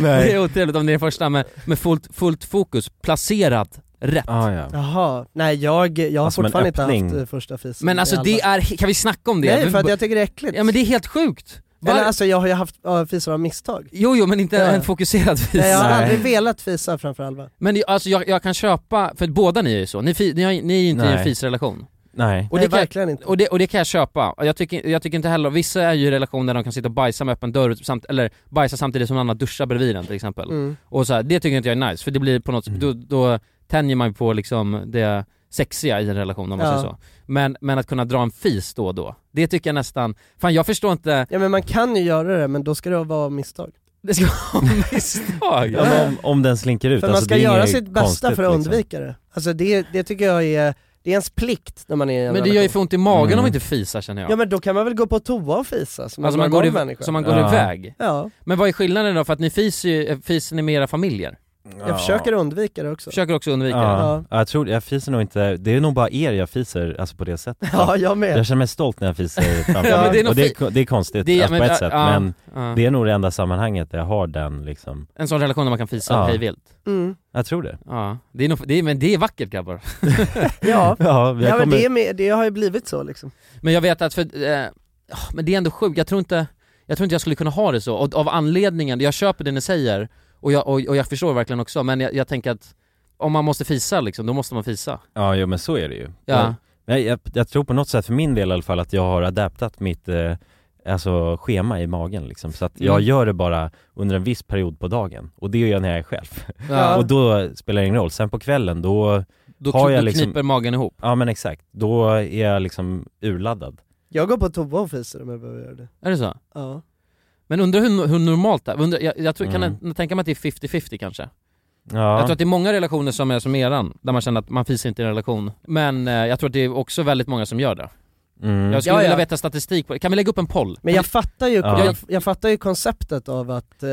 S3: Nej.
S1: Det är otrevligt om det är första, men med fullt, fullt fokus, placerat rätt.
S3: Ah, ja.
S2: Jaha, nej jag, jag har
S1: Alltså, men
S2: fortfarande inte
S1: öppning.
S2: haft eh, första fisen.
S1: Men
S2: i
S1: alltså det
S2: alla-
S1: är, kan vi snacka om det?
S2: Nej för att jag tycker det är äckligt.
S1: Ja men det är helt sjukt! Var-
S2: Eller alltså jag har ju haft ja, fisar av misstag.
S1: Jo, jo men inte
S2: Ja, ja.
S1: en fokuserad fis.
S2: Nej, jag har aldrig velat fisa framför Alva.
S1: Men det- alltså jag, jag kan köpa, för båda ni är ju så, ni, fi, ni, har, ni är ju inte i en
S3: Nej.
S1: fisrelation.
S3: Nej.
S1: Och
S2: Nej,
S1: det kan,
S2: verkligen inte.
S1: Och det, och det kan jag köpa, Och jag tycker, jag tycker inte heller, vissa är ju i relationer där de kan sitta och bajsa med öppen dörr, samt, eller bajsa samtidigt som någon annan duschar bredvid den till exempel.
S2: Mm.
S1: Och så här, det tycker inte jag är nice, för det blir på något
S3: Mm.
S1: då, då tänjer man ju på liksom det sexiga i en relation om man
S2: Ja.
S1: säger så. Men, men att kunna dra en fis då och då, det tycker jag nästan, fan jag förstår inte,
S2: Ja men man kan ju göra det men då ska det vara av misstag.
S1: det ska vara misstag.
S3: Ja, men om, om den slinker ut.
S2: För man
S3: alltså,
S2: ska
S3: det är
S2: göra
S3: inget
S2: sitt bästa
S3: konstigt,
S2: för att
S3: liksom.
S2: undvika det. Alltså det, det tycker jag är, det är ens plikt när man är i en
S1: Men det
S2: relation.
S1: gör ju för ont i magen
S3: Mm.
S1: om vi inte fisar känner jag.
S2: Ja men då kan man väl gå på toa och fisa som
S1: alltså
S2: en
S1: man går,
S2: normal
S1: i,
S2: människa.
S1: så man går iväg.
S2: Ja.
S1: eh, Men vad är skillnaden då? För att ni fiser ju, fiser ni med era familjer?
S2: Jag försöker undvika det också.
S1: Försöker också undvika
S3: Ja. Ja. Jag tror, jag fiser nog inte, det är nog bara er jag fiser, alltså på det sättet
S2: Ja, jag med.
S3: Jag känner mig stolt när jag fiser framför
S1: Ja, men det
S3: det
S1: är nog
S3: och det är,
S1: fi-
S3: ko- det är konstigt,
S1: Det är-
S3: alltså på
S1: men-
S3: ett sätt,
S1: ja,
S3: men
S1: ja.
S3: det är nog det enda sammanhanget där jag har den liksom
S1: En sån relation där man kan fisa
S3: Ja.
S1: hej vilt.
S2: Mm.
S3: Jag tror det
S1: Ja, det är nog, det är, men det är vackert grabbar.
S2: Ja,
S3: Ja,
S2: ja
S3: vi
S2: men
S3: kommer-
S2: det, är med, det har ju blivit så liksom.
S1: Men jag vet att för, eh, ah, men det är ändå sjukt, jag tror inte, jag tror inte jag skulle kunna ha det så, och av anledningen, jag köper det ni säger, och jag, och, och jag förstår verkligen också, men jag, jag tänker att om man måste fisa liksom, då måste man fisa.
S3: Ja, jo men så är det ju.
S1: Ja.
S3: Jag, jag, jag tror på något sätt för min del i alla fall att jag har adaptat mitt eh, alltså, schema i magen liksom. Så att jag
S1: Mm.
S3: gör det bara under en viss period på dagen. Och det gör jag när jag är själv.
S1: Ja.
S3: och då spelar det ingen roll. Sen på kvällen då,
S1: Då
S3: har
S1: kn-
S3: jag
S1: då
S3: liksom...
S1: kniper magen ihop.
S3: Ja men exakt. Då är jag liksom urladdad.
S2: Jag går på toa och fiser om jag behöver göra det.
S1: Är det så?
S2: Ja.
S1: Men undrar hur, hur normalt det är? Undrar, jag, jag tror,
S3: Mm.
S1: kan jag tänka mig att det är 50-50 kanske?
S3: Ja.
S1: Jag tror att det är många relationer som är som eran, där man känner att man fiser inte i en relation. Men eh, jag tror att det är också väldigt många som gör det.
S3: Mm.
S1: Jag skulle
S2: Ja, ja.
S1: vilja veta statistik på det. Kan vi lägga upp en poll?
S2: Men jag fattar ju,
S1: Ja.
S2: jag, jag fattar ju konceptet av att, eh,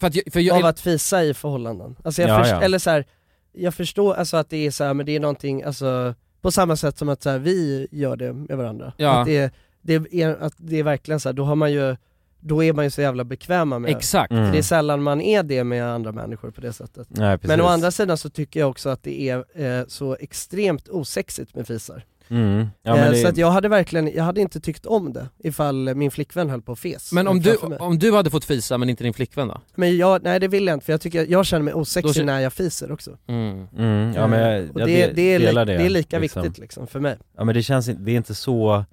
S1: För att jag- för jag-
S2: av att fisa i förhållanden. Alltså jag
S1: Ja,
S2: först,
S1: ja.
S2: eller så här, jag förstår alltså att det är så här, men det är någonting, alltså på samma sätt som att så här, vi gör det med varandra.
S1: Ja.
S2: Att, det är, det är, att det är verkligen så här, då har man ju då är man ju så jävla bekväma med det.
S1: Exakt.
S3: Mm.
S2: Det är sällan man är det med andra människor på det sättet.
S3: Nej, precis.
S2: Men å andra sidan så tycker jag också att det är eh, så extremt osexigt med fisar.
S3: Mm. Ja,
S2: eh,
S3: men det...
S2: Så att jag hade verkligen, jag hade inte tyckt om det ifall min flickvän höll på och fes. eh,
S1: Men om du,
S2: framför mig.
S1: om du hade fått fisa men inte din flickvän då?
S2: Men jag, nej det vill jag inte för jag tycker, jag känner mig osexig
S1: Då kän-
S2: när jag fiser också.
S1: Mm.
S3: Mm, ja, men jag,
S2: Eh, och
S3: jag
S2: det,
S3: de-
S2: det, är, li-
S3: delar
S2: det är lika
S3: liksom.
S2: viktigt liksom för mig.
S3: Ja men det känns inte, det är inte så,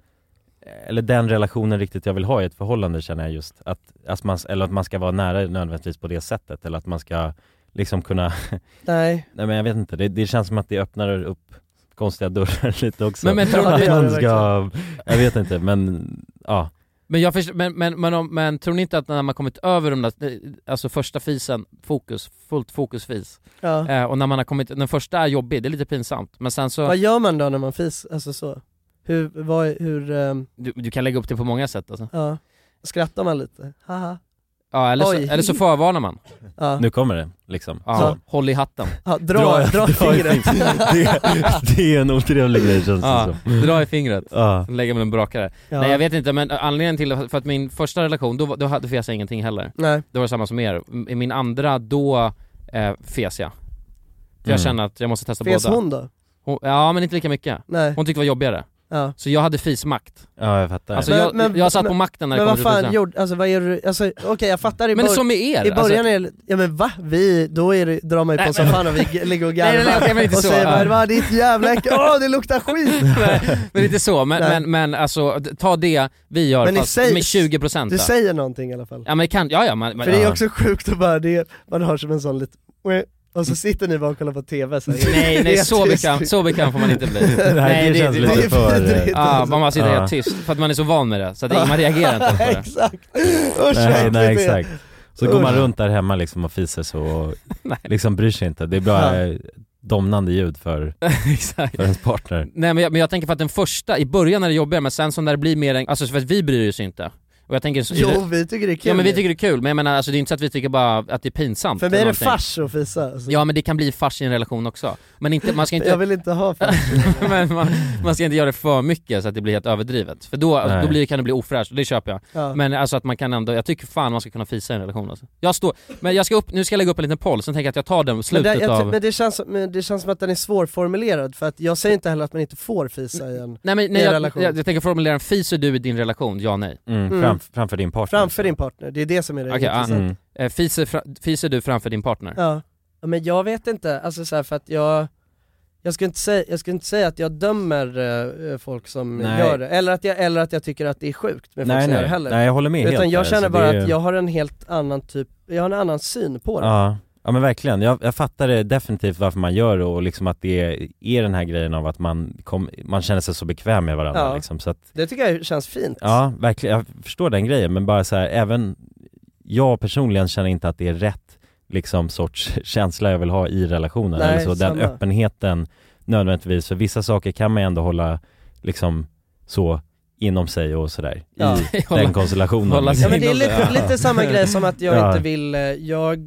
S3: eller den relationen riktigt jag vill ha i ett förhållande känner jag just. Att, att man, eller att man ska vara nära nödvändigtvis på det sättet, eller att man ska liksom kunna,
S2: Nej.
S3: nej men jag vet inte, det, det känns som att det öppnar upp konstiga dörrar lite också.
S1: Men- men tror du-
S3: att
S1: Ja, det
S3: man
S1: gör det
S3: ska, jag vet inte men, ja.
S1: Men, jag förstår, men, men, men, om- men tror ni inte att när man kommit över de där, alltså första fisen, fokus, fullt fokusfis,
S2: Ja.
S1: eh, och när man har kommit, den första är jobbig, det är lite pinsamt, men sen så,
S2: Vad gör man då när man fis, alltså så? Hur, vad, hur, ehm,
S1: du, du kan lägga upp det på många sätt alltså.
S2: ja, skrattar man lite? Haha.
S1: Ja eller så,
S2: Oj.
S1: eller så förvarnar man.
S2: Ja.
S3: nu kommer det liksom.
S1: Ja,
S3: Så.
S1: Håll i hatten.
S2: Ja, dra, dra,
S3: i
S2: fingret.
S3: det, det är en otrevlig grej känns det
S1: Ja,
S3: som.
S1: dra i fingret,
S3: Ja.
S1: lägger man en brakare.
S2: Ja.
S1: Nej jag vet inte, men anledningen till, för att min första relation, då, var- då hade fes jag ingenting heller.
S2: Nej.
S1: Det var samma som er. I min andra, då eh, fes jag. För jag
S2: Mm.
S1: känner att jag måste testa
S2: Fes
S1: båda.
S2: hon då?
S1: Hon, ja men inte lika mycket.
S2: Nej.
S1: Hon tyckte det var jobbigare.
S2: Ja.
S1: Så jag hade fismakt.
S3: Ja jag fattar.
S1: Alltså jag, jag satt på makten när
S2: men
S1: det kom
S2: vad
S1: till
S2: fan
S1: fisa.
S2: gjorde, alltså vad är du, alltså okej jag fattar i
S1: Men
S2: bör-
S1: som med er,
S2: I början
S1: alltså-
S2: är det, ja men va? Vi, då är det, drar man ju på
S1: Nej,
S2: som
S1: men-
S2: fan och vi g- ligger och
S1: Nej, nej, nej, okej,
S2: garvar
S1: men inte
S2: och
S1: så.
S2: säger
S1: Ja.
S2: bara "Va, ditt jävla äckel, åh det luktar skit!
S1: Men inte så, men, men, men alltså d- ta det vi gör
S2: Men ni
S1: fast
S2: säger-
S1: med 20%
S2: Du
S1: då.
S2: säger någonting i alla fall.
S1: Ja men det kan, ja ja man,
S2: För det är också sjukt att bara, det, man har som en sån liten, och så sitter ni bara och kollar på TV så här.
S1: Nej nej
S2: Helt
S1: så
S2: tyst.
S1: bekant, så bekant får man inte bli.
S2: Nej, det känns lite för-
S1: Ja, man bara sitter
S3: Ja.
S1: helt tyst för att man är så van med det så att det- man reagerar inte ens på det.
S2: Exakt! Usch,
S3: Nej,
S2: vad
S3: nej
S2: äckligt det är.
S3: exakt. Så går man
S2: Usch.
S3: runt där hemma liksom och fiser så och liksom bryr sig inte. Det är bara eh, domnande ljud för,
S1: Exakt.
S3: för ens partner.
S1: Nej men jag, men jag tänker för att den första, i början är det jobbigare men sen som när det blir mer en, alltså för att vi bryr oss inte. Och jag tänker så,
S2: Jo vi tycker det är kul
S1: Ja men vi tycker det är kul, men jag menar alltså det är inte så att vi tycker bara att det är pinsamt.
S2: För mig är
S1: eller
S2: det
S1: någonting.
S2: fars att fisa alltså.
S1: Ja men det kan bli fars i en relation också. Men inte, man ska
S2: Jag
S1: inte,
S2: vill inte ha fars
S1: men man, man ska inte göra det för mycket så att det blir helt överdrivet. För då,
S3: Nej.
S1: då blir, kan det bli ofräscht, och det köper jag.
S2: Ja.
S1: Men alltså att man kan ändå, jag tycker fan man ska kunna fisa i en relation alltså. Jag står, men jag ska upp, nu ska jag lägga upp en liten poll, sen tänker jag att jag tar den
S2: Men,
S1: slutet
S2: där, jag, ty-
S1: av...
S2: men, det känns, som- men det känns som att den är svårformulerad för att jag säger inte heller att man inte får fisa
S3: Mm.
S2: i en,
S1: Nej men nej,
S2: i en
S1: jag,
S2: relation.
S1: jag, jag tänker formulera en, fiser du i din relation? Ja nej?
S3: Mm,
S2: Mm.
S3: Framf- framför din partner.
S2: Framför din partner, det är det som är det
S1: Okej, ah,
S2: intressanta.
S1: mm. Eh, fiser, fra- fiser du framför din partner?
S3: mm.
S2: Ja. ja, men jag vet inte, alltså så här, för att jag jag skulle, inte säga, jag skulle inte säga att jag dömer eh, folk som
S3: Nej.
S2: gör det, eller att, jag, eller att jag tycker att det är sjukt med folk
S3: Nej
S2: som gör det
S3: nej.
S2: heller.
S3: nej, jag håller med helt
S2: Utan jag
S3: där,
S2: känner
S3: så
S2: bara
S3: det är-
S2: att jag har en helt annan typ, jag har en annan syn på det.
S3: Ja, ja men verkligen. Jag, jag fattar det definitivt varför man gör det och liksom att det är, är den här grejen av att man, kom, man känner sig så bekväm med varandra
S2: Ja.
S3: liksom. Så att,
S2: Det tycker jag känns fint.
S3: ja verkligen, jag förstår den grejen men bara så här, även jag personligen känner inte att det är rätt liksom sorts känsla jag vill ha i relationen.
S2: Nej,
S3: eller så, den
S2: samma.
S3: öppenheten nödvändigtvis, för vissa saker kan man ju ändå hålla liksom så inom sig och sådär
S2: Ja.
S3: i
S2: Hålla-
S3: den konstellationen.
S1: hålla
S2: Ja men det är lite, lite samma grej som att eh, jag
S3: Ja.
S2: inte vill, eh, jag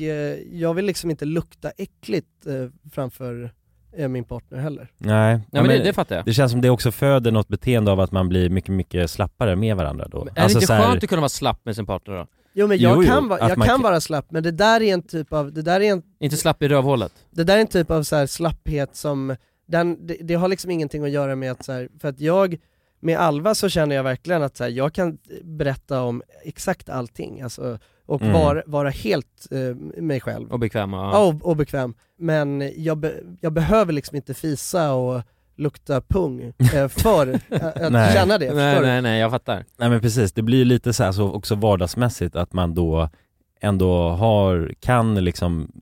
S2: Eh, Jag vill liksom inte lukta äckligt eh, framför eh, min partner heller.
S3: Nej,
S1: men det- det fattar jag.
S3: Det känns som det också föder något beteende av att man blir mycket, mycket slappare med varandra då. Alltså
S1: Är det inte skönt att kunna vara slapp med sin partner då?
S2: Jo men jag, kan, vara, jag kan vara slapp, men det där är en typ av, det där är en,
S1: Inte slapp i rövhålet?
S2: det där är en typ av så här slapphet som, den, det, det har liksom ingenting att göra med att så här, för att jag, med Alva så känner jag verkligen att så här, jag kan berätta om exakt allting, alltså, och
S1: Mm.
S2: vara, vara helt eh, mig själv.
S1: Och bekväm och...
S2: Ja, och, och bekväm. Men jag, be, jag behöver liksom inte fisa och lukta pung eh, för att, att känna det, förstår du?
S1: nej, jag fattar.
S3: Nej men precis, det blir ju lite så här så också vardagsmässigt att man då ändå har, kan liksom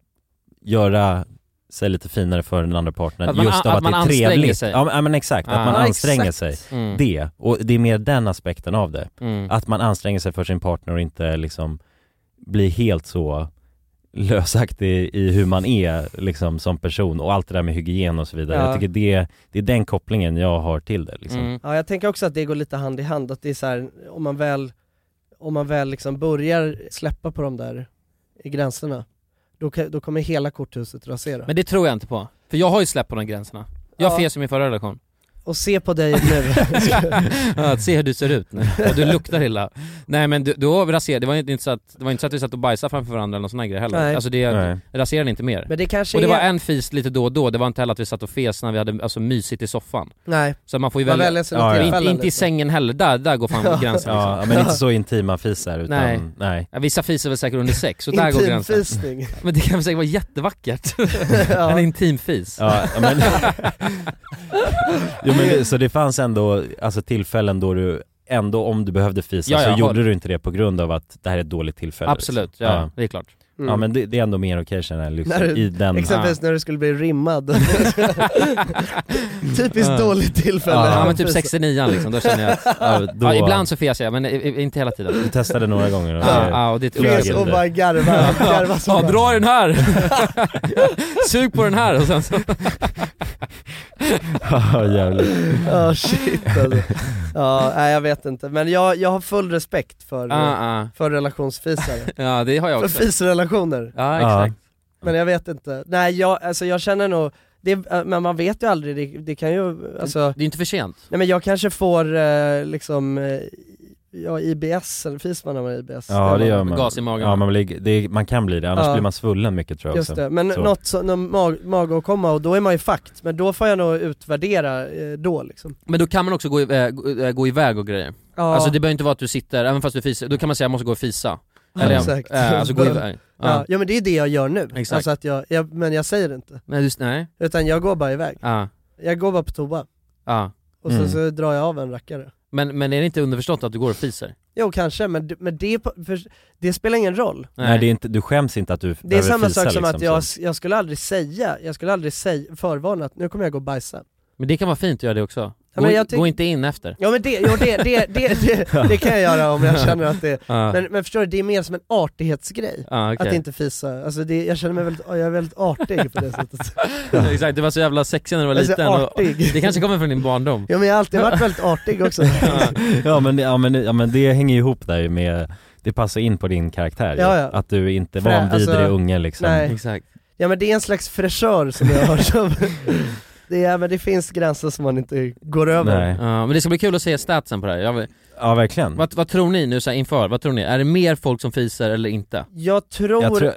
S3: göra sig lite finare för den andra partnern
S1: Att man-
S3: just av
S1: att
S3: att,
S1: man
S3: det är
S1: anstränger
S3: trevligt.
S1: sig.
S3: Ja men- ja, men exakt,
S1: Ah.
S3: att man
S1: Ja,
S3: anstränger
S1: exakt.
S3: sig.
S1: Mm.
S3: Det, och det är mer den aspekten av det.
S1: Mm.
S3: Att man anstränger sig för sin partner och inte liksom blir helt så lösaktig i hur man är liksom som person och allt det där med hygien och så vidare.
S2: Ja.
S3: Jag tycker det, det är den kopplingen jag har till det
S1: Mm.
S3: liksom.
S2: Ja, jag tänker också att det går lite hand i hand, att det är så här, om man väl, om man väl liksom börjar släppa på de där gränserna, då, ka- då kommer hela korthuset rasera.
S1: Men det tror jag inte på. För jag har ju släppt på de gränserna. Jag
S2: Ja.
S1: fes i min förra relation.
S2: Och se på dig nu.
S1: Ja, att se hur du ser ut nu. Och du luktar illa. Nej men du- då raserade, det var inte inte så att, det var inte så att vi satt och bajsade framför varandra eller någon sån här grej heller.
S2: Nej.
S1: Alltså det
S2: Nej.
S1: raserade inte mer.
S2: Men det kanske
S1: och det
S2: är-
S1: var en fis lite då och då, det var inte heller att vi satt och fes när vi hade alltså, mysigt i soffan.
S2: Nej.
S1: Så man får ju
S2: Man
S1: välja,
S2: väljer sina Ja, ja.
S1: Inte-
S2: tillfällen liksom.
S1: inte i
S2: lite.
S1: sängen heller, där, där går fan gränsen
S3: Ja,
S1: liksom.
S3: men inte så intima fisar utan,
S1: Nej.
S3: nej.
S1: Ja, vissa fiser väl säkert under sex, och där går gränsen.
S2: Intimfisning.
S1: Men det kan väl säkert vara jättevackert?
S2: Ja.
S1: En intim fis.
S3: Ja, ja, men, jo, men det, så det fanns ändå alltså, tillfällen då du ändå om du behövde fisa
S1: Ja,
S3: så
S1: ja,
S3: Alltså, gjorde
S1: håll.
S3: du inte det på grund av att det här är ett dåligt tillfälle. liksom?
S1: Absolut, ja, det är klart. Mm.
S3: Ja men det, det är ändå mer okej känner jag liksom,
S2: När du-
S3: i den...
S2: Exempelvis när du skulle bli rimmad. Typiskt
S1: Ja.
S2: dåligt tillfälle.
S1: Ja men typ 69 liksom, då känner jag att,
S3: Ja,
S1: ja,
S3: då-
S1: ibland så fes jag men i- i- inte hela tiden.
S3: Du testade några gånger och
S1: Ja,
S3: det-
S1: ja och det
S3: Fes och
S1: inte.
S3: bara
S2: garva- garva som
S1: Ja,
S2: fan.
S1: dra i den här! Sug på den här och sen så...
S3: Ja jävlar.
S2: Ja shit alltså. Ja, nej, jag vet inte. Men jag, jag har full respekt för,
S1: Ah, ah.
S2: för relationsfisare.
S1: Ja det har jag
S2: för
S1: också.
S2: fisrelationer.
S1: Ja exakt.
S2: Men jag vet inte. Nej jag, alltså jag känner nog, det, men man vet ju aldrig, det, det kan ju, alltså
S1: Det är inte för sent.
S2: Nej men jag kanske får eh, liksom, eh, ja IBS, eller finns man när man har IBS?
S3: Ja det gör man.
S1: Gas i magen.
S3: Ja man, blir, det, man kan bli det, annars
S2: Ja.
S3: blir man svullen mycket tror jag
S2: Just
S3: också.
S2: det, men
S3: Så.
S2: något så, någon mag, magåkomma och då är man ju fucked, men då får jag nog utvärdera eh, då liksom.
S1: Men då kan man också gå, i, eh, gå, eh, gå iväg och grejer.
S2: Ja.
S1: Alltså det behöver inte vara att du sitter, även fast du fiser, då kan man säga jag måste gå och fisa.
S2: Ja,
S1: Eller,
S2: exakt.
S1: eh, alltså gå iväg.
S2: Ja. Ja. men det är ju det jag gör nu,
S1: Exakt.
S2: Alltså att jag, jag, men jag säger det inte.
S1: Nej, just, nej.
S2: Utan jag går bara iväg.
S1: Ja.
S2: Jag går bara på toa,
S1: Ja.
S3: Mm.
S2: och så, så drar jag av en rackare.
S1: Men, men är det inte underförstått att du går och fiser?
S2: Jo kanske, men, d- men det, är på- för, det spelar ingen roll.
S3: Nej, det är inte, du skäms inte att du
S2: Det är samma sak som
S3: liksom,
S2: att jag, jag skulle aldrig säga, jag skulle aldrig säga, förvarna att nu kommer jag gå och bajsa.
S1: Men det kan vara fint att göra det också.
S2: Ja,
S1: Gå,
S2: men jag tyck-
S1: gå inte in efter.
S2: Ja men det, jo, det, det, det, det, det kan jag göra om jag känner att det,
S1: Ja.
S3: Ah.
S2: men, men förstår du, det är mer som en artighetsgrej.
S1: Ja, okej.
S2: Att inte fisa, alltså det, jag känner mig väldigt, jag är väldigt artig på det sättet.
S3: Ah,
S1: Exakt, du var så jävla sexig när du var
S3: Alltså,
S2: Jag är så
S1: liten. och-
S2: artig.
S1: Det kanske kommer från din barndom.
S2: Ja men jag har alltid varit väldigt artig också.
S3: ja, men, det- ja, men, ja men det hänger ju ihop där ju med, det passar in på din karaktär ju.
S2: Ja, ja.
S3: Att du inte var
S2: Frä-
S3: en vidrig
S2: alltså,
S3: unge liksom
S2: nej. Ja men det är en slags fräschör som jag har som, det, är, men det finns gränser som man inte går över.
S1: Ja, men det ska bli kul att se statsen på det här. Jag, vill-
S3: Ja verkligen
S1: vad, vad tror ni nu så här inför? Vad tror ni? Är det mer folk som fiser eller inte?
S2: Jag tror,
S3: Jag
S2: jag
S3: tror,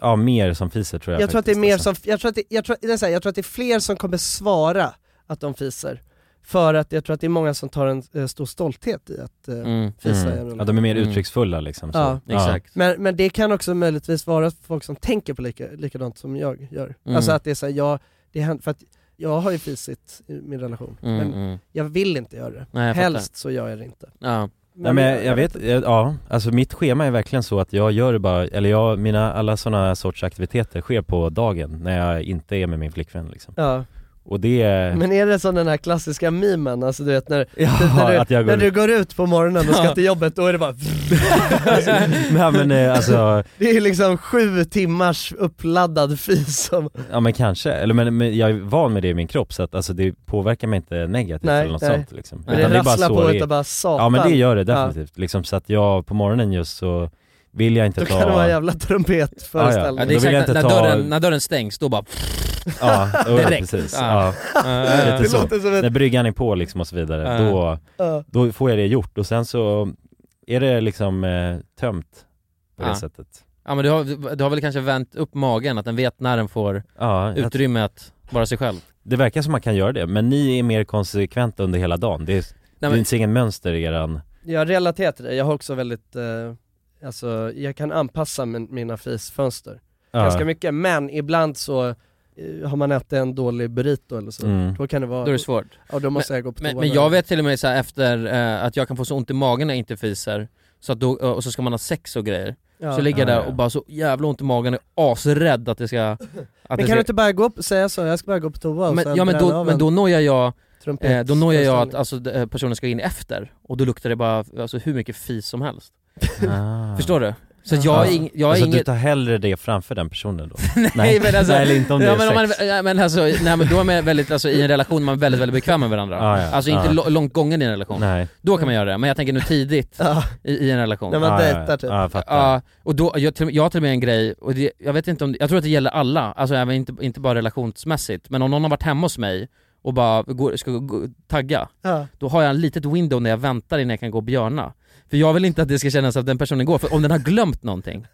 S3: ja mer som fiser tror jag
S2: tror att det är
S3: faktiskt,
S2: mer
S3: alltså.
S2: som, jag tror, att det, jag, tror, det är så här, jag tror att det är fler som kommer svara att de fiser. För att jag tror att det är många som tar en eh, stor stolthet i att eh,
S1: Mm.
S3: Mm.
S2: fisa. i en rulle.
S3: Ja de är mer uttrycksfulla liksom så.
S2: Ja. Men, men det kan också möjligtvis vara folk som tänker på lika, likadant som jag gör.
S3: Mm.
S2: Alltså att det är såhär, jag, det händer, för att jag har ju fisit i min relation,
S3: Mm,
S2: men
S3: mm.
S2: jag vill inte göra det.
S1: Nej, jag fattar.
S2: Helst så gör jag det inte.
S1: Ja.
S3: Nej men jag, jag vet, jag, ja, alltså mitt schema är verkligen så att jag gör det bara, eller jag, mina, alla sådana sorts aktiviteter sker på dagen när jag inte är med min flickvän liksom.
S2: Ja.
S3: Och det är...
S2: Men är det som den här klassiska memen, alltså du vet när,
S3: Ja,
S2: när,
S3: att
S2: du,
S3: jag går
S2: när du
S3: ut.
S2: går ut på morgonen och ska
S3: Ja.
S2: till jobbet, då är det bara
S3: Nej men eh, alltså,
S2: Det är liksom sju timmars uppladdad fis som,
S3: ja men kanske, eller men, men jag är van med det i min kropp så att alltså det påverkar mig inte negativt
S2: Nej,
S3: eller något
S2: nej.
S3: sånt liksom.
S2: Men det
S3: Utan är
S2: rasslar
S3: så
S2: på
S3: det är.
S2: utav bara satan.
S3: Ja men det gör det
S2: Ja.
S3: definitivt, liksom så att jag på morgonen just så vill jag inte
S2: då
S3: ta
S2: kan det vara en jävla trumpetföreställning.
S1: Ja, det är
S3: Då vill jag
S1: exakt,
S3: inte
S1: när,
S3: ta-
S1: dörren, när dörren stängs, då bara...
S3: Ja, jo, ja,
S1: Direkt.
S3: precis.
S1: Ja.
S3: Ja.
S1: Ja.
S3: Lite
S1: Det
S3: så.
S1: låter som ett-
S3: När bryggan är på liksom och så vidare,
S1: Ja.
S3: då,
S1: Ja.
S3: då får jag det gjort och sen så är det liksom eh, tömt på det
S1: Ja.
S3: sättet.
S1: Ja men du har, du har väl kanske vänt upp magen, att den vet när den får
S3: Ja, jag-
S1: utrymme att vara sig själv.
S3: Det verkar som man kan göra det, men ni är mer konsekventa under hela dagen. Det, är,
S2: men-
S3: det finns ingen mönster i eran...
S2: Jag relaterar till det, jag har också väldigt, eh, alltså jag kan anpassa min, mina fisfönster
S3: Ja.
S2: ganska mycket, men ibland så eh, har man ätit en dålig burrito eller så,
S1: Mm.
S2: då kan det vara
S1: Då är det svårt.
S2: Ja då måste jag gå på
S1: men,
S2: toa
S1: men
S2: då.
S1: jag vet till och med så här, efter eh, att jag kan få så ont i magen när jag inte fiser, så att då, eh, och så ska man ha sex och grejer.
S2: Ja.
S1: Så ligger jag
S2: Ja,
S1: där
S2: ja.
S1: och bara så jävla ont i magen och är asrädd att det ska... Att
S2: Men
S1: det
S2: kan
S1: ska...
S2: du inte bara gå upp, säga så, jag ska bara gå på toa och
S1: men,
S2: sen
S1: ja, men,
S2: bränna
S1: då,
S2: av
S1: men
S2: en
S1: då når jag, eh, då når jag att
S2: trumpetföreställning.
S1: alltså, d- eh, personen ska in efter, och då luktar det bara alltså, hur mycket fis som helst.
S3: Ah.
S1: Förstår du? Så att jag är ing, jag är
S3: alltså, du
S1: inget...
S3: tar hellre det framför den personen då?
S1: Nej men alltså,
S3: nej, eller inte om det
S1: ja,
S3: är
S1: men, om man,
S3: sex.
S1: ja, men alltså, nej men då är man väldigt, alltså, i en relation man är väldigt, väldigt bekväm med varandra.
S3: Ja, ja,
S1: alltså inte
S3: ja.
S1: lo- långt gången i en relation.
S3: Nej.
S1: Då kan man göra det, men jag tänker nu tidigt i, i en relation.
S2: När man Ja, ja, dejtar, typ. ja, jag fattar.
S1: Ja, och då, jag, till- jag har till och med en grej, och det, jag vet inte om, jag tror att det gäller alla, alltså även inte, inte bara relationsmässigt, men om någon har varit hemma hos mig och bara går, ska gå, tagga,
S2: Ja.
S1: då har jag en litet window när jag väntar innan jag kan gå och björna. För jag vill inte att det ska kännas att den personen går, för om den har glömt någonting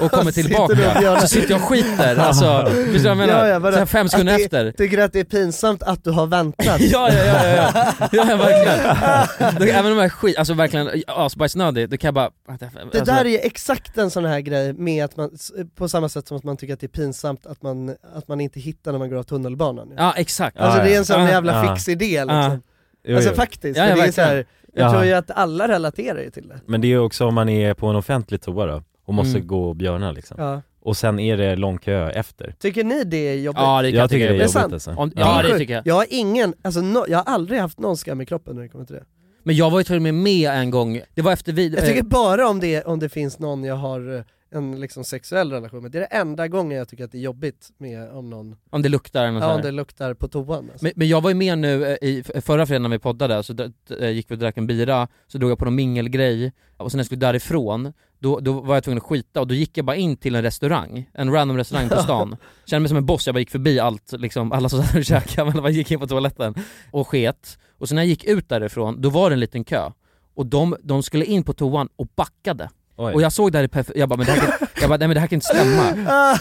S1: och kommer
S2: Sitter
S1: tillbaka
S2: du och björnar?
S1: så sitter jag och skiter, alltså, förstår du vad jag menar?
S2: Ja, ja, vadå?
S1: Så här fem
S2: Att
S1: sekunder
S2: det-
S1: efter.
S2: Tycker du att det är pinsamt att du har väntat?
S1: Ja, ja, ja, ja, ja. ja verkligen. Då- Även om jag är skit, alltså verkligen asbajsnödig, då kan jag bara...
S2: Det
S1: alltså-
S2: där är ju exakt en sån här grej med att man, s- på samma sätt som att man tycker att det är pinsamt att man, att man inte hittar när man går av tunnelbanan.
S1: Ja exakt.
S2: Alltså det är en sån
S1: Ja.
S2: jävla
S1: Ja.
S2: fix idé liksom.
S1: Ja.
S3: Jo,
S2: Alltså
S3: jo.
S2: faktiskt,
S3: Ja,
S2: för
S3: ja,
S2: det är så
S3: verkligen.
S2: här, jag
S3: Ja.
S2: tror ju att alla relaterar ju till det.
S3: Men det är ju också om man är på en offentlig toa då, och måste
S2: Mm.
S3: gå och björna liksom.
S2: Ja.
S3: Och sen är det lång kö efter.
S2: Tycker ni det är jobbigt?
S3: Ja, det kan Jag tycka tycker det är det är jobbigt,
S2: sant.
S3: alltså. Om- ja,
S2: är
S3: det
S2: sjukt.
S1: tycker jag.
S2: Jag har ingen, alltså no, jag har aldrig haft någon skam i kroppen när det kommer till det.
S1: Men jag var ju till och med med en gång, det var efter vi...
S2: Jag tycker
S1: eh,
S2: bara om det, om det finns någon jag har eh, en liksom sexuell relation med, det är det enda gången jag tycker att det är jobbigt med om någon,
S1: Om det luktar eller något
S2: ja,
S1: så
S2: om
S1: här.
S2: det luktar på toan. Alltså.
S1: Men, men jag var ju med nu eh, i f- förra fredagen när vi poddade, så d- d- eh, gick vi och drack en bira, så drog jag på någon mingelgrej, och sen när jag skulle därifrån, då, då var jag tvungen att skita och då gick jag bara in till en restaurang, en random restaurang på stan. Kände mig som en boss, jag bara gick förbi allt, liksom, alla som satt och käkade, men jag bara gick in på toaletten och sket. Och sen när jag gick ut därifrån, då var det en liten kö. Och de, de skulle in på toan och backade.
S3: Oj.
S1: Och jag såg det här i perf- jag bara, men det här kan, jag bara, nej men det här kan inte stämma.
S2: Ah.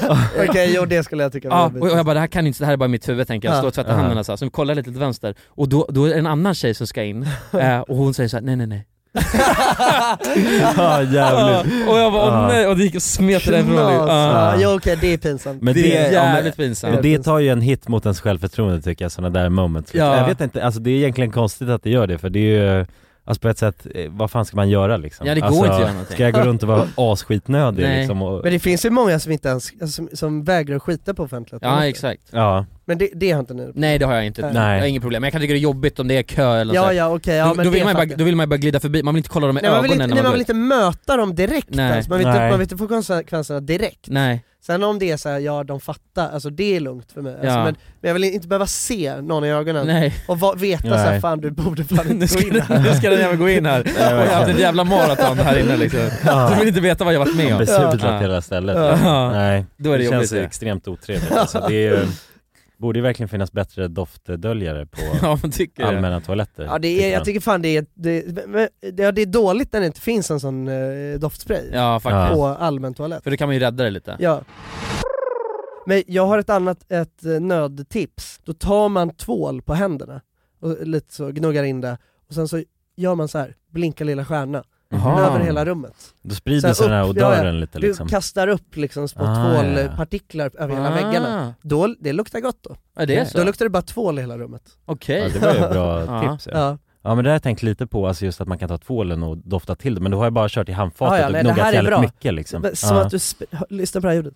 S2: Okej, jo det skulle jag tycka var
S1: Ja,
S2: jobbigt.
S1: Ah, och jag bara det här kan inte, det här är bara mitt huvud tänker jag,
S2: Ja.
S1: står och tvättar
S2: Ja.
S1: händerna så här. så kollar jag lite till vänster, och då, då är det en annan tjej som ska in, eh, och hon säger så här: nej nej nej
S3: Ja jävligt.
S1: Ja, Och jag bara åh
S3: Ja.
S1: nej, och det gick och smet därifrån
S2: Knas. Ja,
S1: Ja.
S2: jo okej det är pinsamt.
S3: Men det, ja, men-
S1: jävligt pinsamt.
S3: Men det tar ju en hit mot ens självförtroende tycker jag, sådana där moments.
S1: Ja.
S3: Jag vet inte, alltså det är egentligen konstigt att det gör det för det är ju Alltså på ett sätt, eh, vad fan ska man göra liksom?
S2: Ja, det går
S3: alltså,
S2: inte att göra någonting.
S3: Ska jag gå runt och vara asskitnödig
S2: Nej.
S3: liksom? Och,
S2: Men det finns ju många som inte ens, alltså, som, som vägrar skita på offentliga toaletter.
S3: Ja.
S2: Men det, det har inte ni?
S1: Nej det har jag inte,
S2: Nej.
S1: jag har inget problem. Men jag kan tycka det är jobbigt om det är kö eller
S2: Ja,
S1: så här.
S2: ja, okej, ja,
S1: Alltså, då,
S2: men
S1: då,
S2: det
S1: vill man ju bara,
S2: fattar
S1: då vill man ju bara glida förbi, man vill inte kolla dem i
S2: Nej, man vill,
S1: ögonen
S2: inte,
S1: när
S2: nej,
S1: man
S2: man
S1: går
S2: vill
S1: ut.
S2: inte möta dem direkt
S1: Nej.
S2: ens, man vill, inte,
S1: Nej.
S2: man vill inte få konsekvenserna direkt
S1: Nej.
S2: Sen om det är så här, ja de fattar, alltså det är lugnt för mig alltså,
S1: Ja.
S2: men, men jag vill inte behöva se någon i ögonen
S1: Nej.
S2: och va, veta så här,
S1: Nej.
S2: fan du borde fan inte gå in här
S1: Nu ska den jäveln gå in här,
S2: Ja,
S1: jag har haft ett jävla maraton här inne liksom.
S3: Ja.
S1: Du vill inte veta vad jag varit med
S3: Man
S1: om.
S3: blir sur på hela stället.
S1: Ja.
S3: Nej,
S1: Då är det,
S3: känns
S1: jobbigt
S3: ju
S1: det.
S3: extremt otrevligt. Alltså, det är ju, borde ju verkligen finnas bättre doftdöljare på
S1: Ja, man tycker det.
S3: allmänna toaletter.
S1: typ.
S2: Ja det är,
S3: man.
S2: jag tycker fan det är, det, men- det, ja, det är dåligt när det inte finns en sån eh, doftspray
S1: Ja faktiskt.
S2: på allmän toalett
S1: För då kan man ju rädda det lite.
S2: Ja. Men jag har ett annat, ett eh, nödtips. Då tar man tvål på händerna och lite så gnuggar in det och sen så gör man så här, blinkar lilla stjärna
S3: Jaha.
S2: över hela rummet.
S3: Då
S2: Så
S3: sprider
S2: här
S3: sig den här
S2: upp, ja, ja.
S3: odören lite liksom.
S2: Du kastar upp liksom små
S3: Ah,
S2: tvålpartiklar över hela
S1: Ah.
S2: väggarna. Då, det luktar gott då.
S1: Ja, det är så.
S2: Då luktar det bara tvål i hela rummet.
S1: Okej.
S3: Ja, det var ju ett bra
S1: Ja.
S3: tips ja. Ja. men det har jag tänkt lite på, alltså just att man kan ta tvålen och dofta till det, men då har jag bara kört i handfatet
S2: Ja, ja,
S3: och
S2: nej, det här
S3: gnuggat
S2: är
S3: jävligt
S2: bra.
S3: mycket liksom.
S2: Men Som
S3: ja.
S2: att du, sp- lyssna på det här ljudet.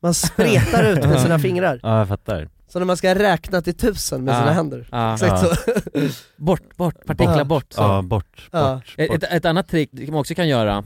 S2: Man spretar ut med sina fingrar.
S3: Ja, jag fattar.
S2: Så när man ska räkna till tusen med
S1: Ja.
S2: sina händer.
S1: Ja.
S2: Exakt så.
S1: Ah. Bort, bort, partiklar
S2: Ja.
S1: bort. Så.
S3: Ja, bort,
S2: Ja.
S3: bort,
S1: Ett,
S3: bort.
S1: ett, ett annat trick man också kan göra,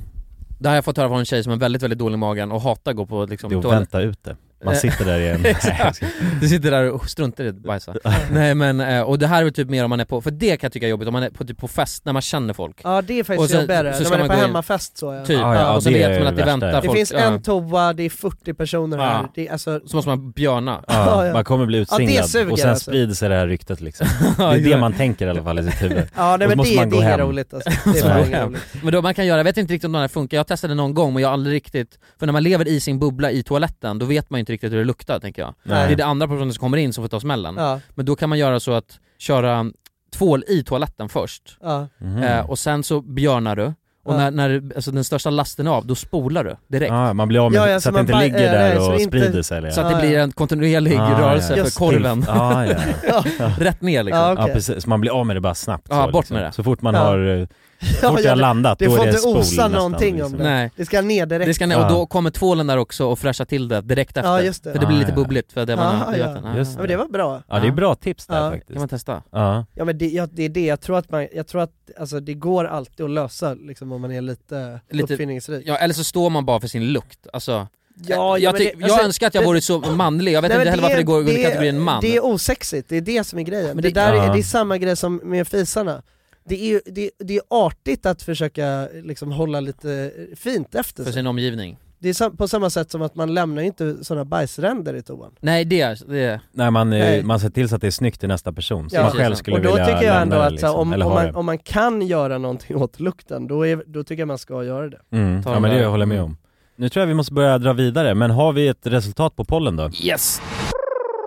S1: det har jag fått höra från en tjej som är väldigt, väldigt dålig i magen och hatar att gå på liksom,
S3: Det är att
S1: toalett.
S3: vänta ut det. Man
S1: Eh,
S3: sitter där i en-
S1: Exakt. Du sitter där och struntar i att bajsa. Nej men, eh, och det här är väl typ mer om man är på, för det kan jag tycka är jobbigt om man är på, typ på fest när man känner folk.
S2: Ja det är faktiskt
S1: Och sen-
S2: jobbigare,
S1: så
S2: när
S1: ska
S2: man är
S1: man
S2: på
S1: gå in.
S2: hemmafest så ja.
S1: Typ,
S3: Ja, ja,
S1: och så
S3: det är
S1: vet man att
S3: det
S1: det väntar
S3: värsta.
S1: folk.
S2: Det finns
S1: ja.
S2: en toa, det är 40 personer här,
S1: Ja.
S2: det är alltså
S1: Så måste man björna.
S3: Ja, man kommer bli
S2: Ja, det
S3: utsinglad
S2: suger
S3: och sen
S2: alltså.
S3: sprider sig det här ryktet liksom. Det är det
S1: exakt.
S3: man tänker i alla fall i sitt huvud.
S2: Ja nej,
S3: Och så
S2: men
S3: måste
S2: det,
S3: man gå
S2: det är
S3: hem.
S2: roligt alltså. Det är
S3: Så man
S2: fan
S3: går hem.
S2: roligt.
S1: Men då man kan göra, jag vet inte riktigt om den här funkar, jag testade någon gång men jag har aldrig riktigt, för när man lever i sin bubbla i toaletten då vet man ju inte riktigt hur det luktar tänker jag.
S3: Nej.
S1: Det är det andra personen som kommer in som får ta smällen.
S2: Ja.
S1: Men då kan man göra så att köra tvål i toaletten först,
S2: Ja.
S3: Mhm.
S1: eh, och sen så björnar du, och
S2: Ja.
S1: när, när alltså, den största lasten är av, då spolar du direkt.
S3: Ja, man blir av med,
S2: Ja, ja,
S3: så
S2: så
S3: att det inte
S2: man baj-
S3: ligger
S2: eh, nej,
S3: där
S2: så
S3: och
S2: inte-
S3: sprider sig. eller?
S1: Så att det
S2: Ja,
S1: blir
S2: ja.
S1: en kontinuerlig
S3: Ah,
S1: rörelse
S3: ja.
S1: för
S3: Just
S1: korven.
S3: det. Ah, ja, ja.
S1: Rätt ner liksom.
S2: Ja, okej.
S3: ja, precis. Man blir av med det bara snabbt.
S1: Ja,
S3: så,
S1: bort
S3: liksom.
S1: med det.
S3: Så fort man
S2: Ja.
S3: har, eh, så
S2: Ja,
S3: fort
S2: ja,
S3: jag har landat,
S2: Det
S3: då
S2: får
S3: är det
S2: inte
S3: spol
S2: osa
S3: nästan,
S2: någonting om
S3: liksom.
S2: det.
S1: Nej.
S2: Det ska ner direkt.
S1: Det ska ner,
S3: Ja.
S1: och då kommer tvålen där också och fräscha till det direkt efter.
S2: Ja, just det.
S1: För det blir
S3: Ah,
S1: lite
S3: ja.
S1: bubbligt för det man
S2: Ah,
S1: det
S2: ja.
S1: vatten. Ah.
S3: Just
S2: Ja, men det var bra.
S3: Ja, det är bra tips där
S2: Ja.
S1: kan
S3: faktiskt.
S1: man testa.
S3: Ja.
S2: Ja men det, ja, det är det, jag tror att, man, jag tror att alltså, det går alltid att lösa liksom, om man är lite,
S1: Lite-
S2: uppfinningsrik.
S1: Ja, eller så står man bara för sin lukt. Alltså,
S2: Ja, ja,
S1: jag,
S2: men
S1: tyck,
S2: det-
S1: jag
S2: alltså-
S1: önskar att jag vore så manlig, jag vet
S2: Nej, men
S1: inte heller varför det går under
S2: det-
S1: kategorin man.
S2: Det är osexigt, det är det som är grejen.
S1: men
S2: det,
S1: det-
S2: där
S3: Ja.
S2: är, det är samma grej som med fisarna. Det är, ju- det, det är artigt att försöka liksom, hålla lite fint efter sig.
S1: för sin omgivning.
S2: Det är sam- på samma sätt som att man lämnar ju inte sådana bajsränder i toan.
S1: Nej det, det
S3: Nej, man, eh,
S2: Nej.
S3: man ser till så att det är snyggt i nästa person, som
S2: Ja.
S3: man själv
S1: Precis.
S3: skulle
S2: Och då
S3: vilja
S2: tycker jag
S3: lämna
S2: ändå
S3: det,
S2: att
S3: liksom,
S2: så här, om,
S3: eller
S2: om,
S3: ha
S2: man,
S3: det.
S2: om man kan göra någonting åt lukten, då, är, då tycker jag man ska göra det.
S3: Mm.
S1: Ta
S3: Ja
S1: den
S3: men det
S1: där.
S3: håller jag med om. Nu tror jag vi måste börja dra vidare, men har vi ett resultat på pollen då?
S1: Yes!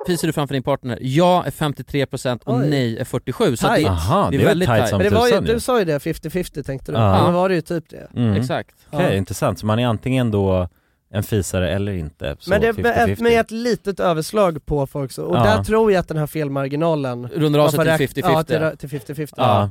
S1: Fiser du framför din partner? Ja är 53% och
S2: Oj.
S1: nej är 47% så det,
S2: Tight.
S3: Aha,
S1: det
S3: det
S1: är
S3: var
S1: väldigt
S3: tight
S1: tight.
S3: som
S2: Men det var ju,
S3: tusan ju.
S2: du sa ju det, 50-50 tänkte du.
S3: Ja.
S2: Ja. Men var det ju typ det.
S3: Mm.
S1: Exakt.
S3: Okej,
S2: Ja.
S3: intressant. Så man är antingen då en fisare eller inte. Så
S2: Men det
S3: 50-50.
S2: ett, med ett litet överslag på folk så, och
S3: Ja.
S2: där tror jag att den här felmarginalen
S1: Rundar av sig
S2: man får
S1: till
S2: räkna- Ja,
S1: 50-50.
S2: till- till 50-50.
S3: Ja.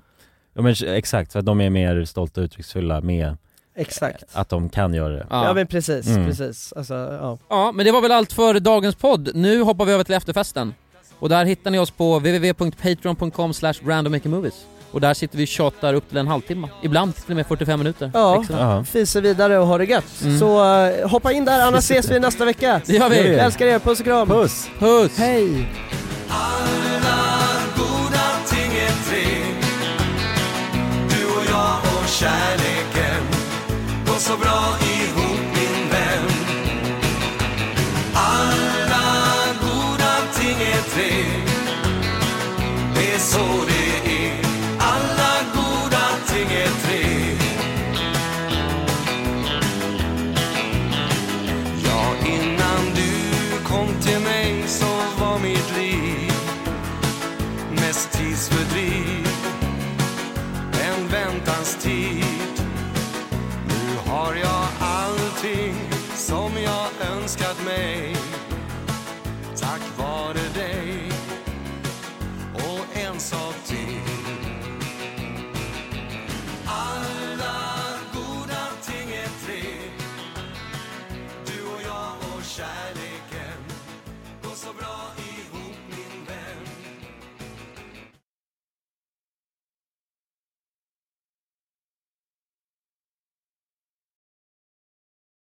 S3: ja men exakt, för att de är mer stolta och uttrycksfulla med
S2: Exakt.
S3: att de kan göra det.
S2: Ja,
S1: Ja.
S2: men precis,
S3: Mm.
S2: precis. Alltså, ja.
S1: Ja, men det var väl allt för dagens podd. Nu hoppar vi över till efterfesten. Och där hittar ni oss på www.patreon.com slash randommakermovies. Och där sitter vi och tjatar upp till en halvtimme. Ibland till och med 45 minuter.
S2: Ja.
S1: Extra.
S3: Ja.
S2: Fiser vidare och ha det gött.
S1: Mm.
S2: Så eh, hoppa in där, annars ses vi nästa vecka.
S1: Det gör vi.
S2: Jag älskar er, puss och kram.
S3: Puss!
S1: Puss!
S2: Hej!
S14: Du och jag och kärleken går så bra ihop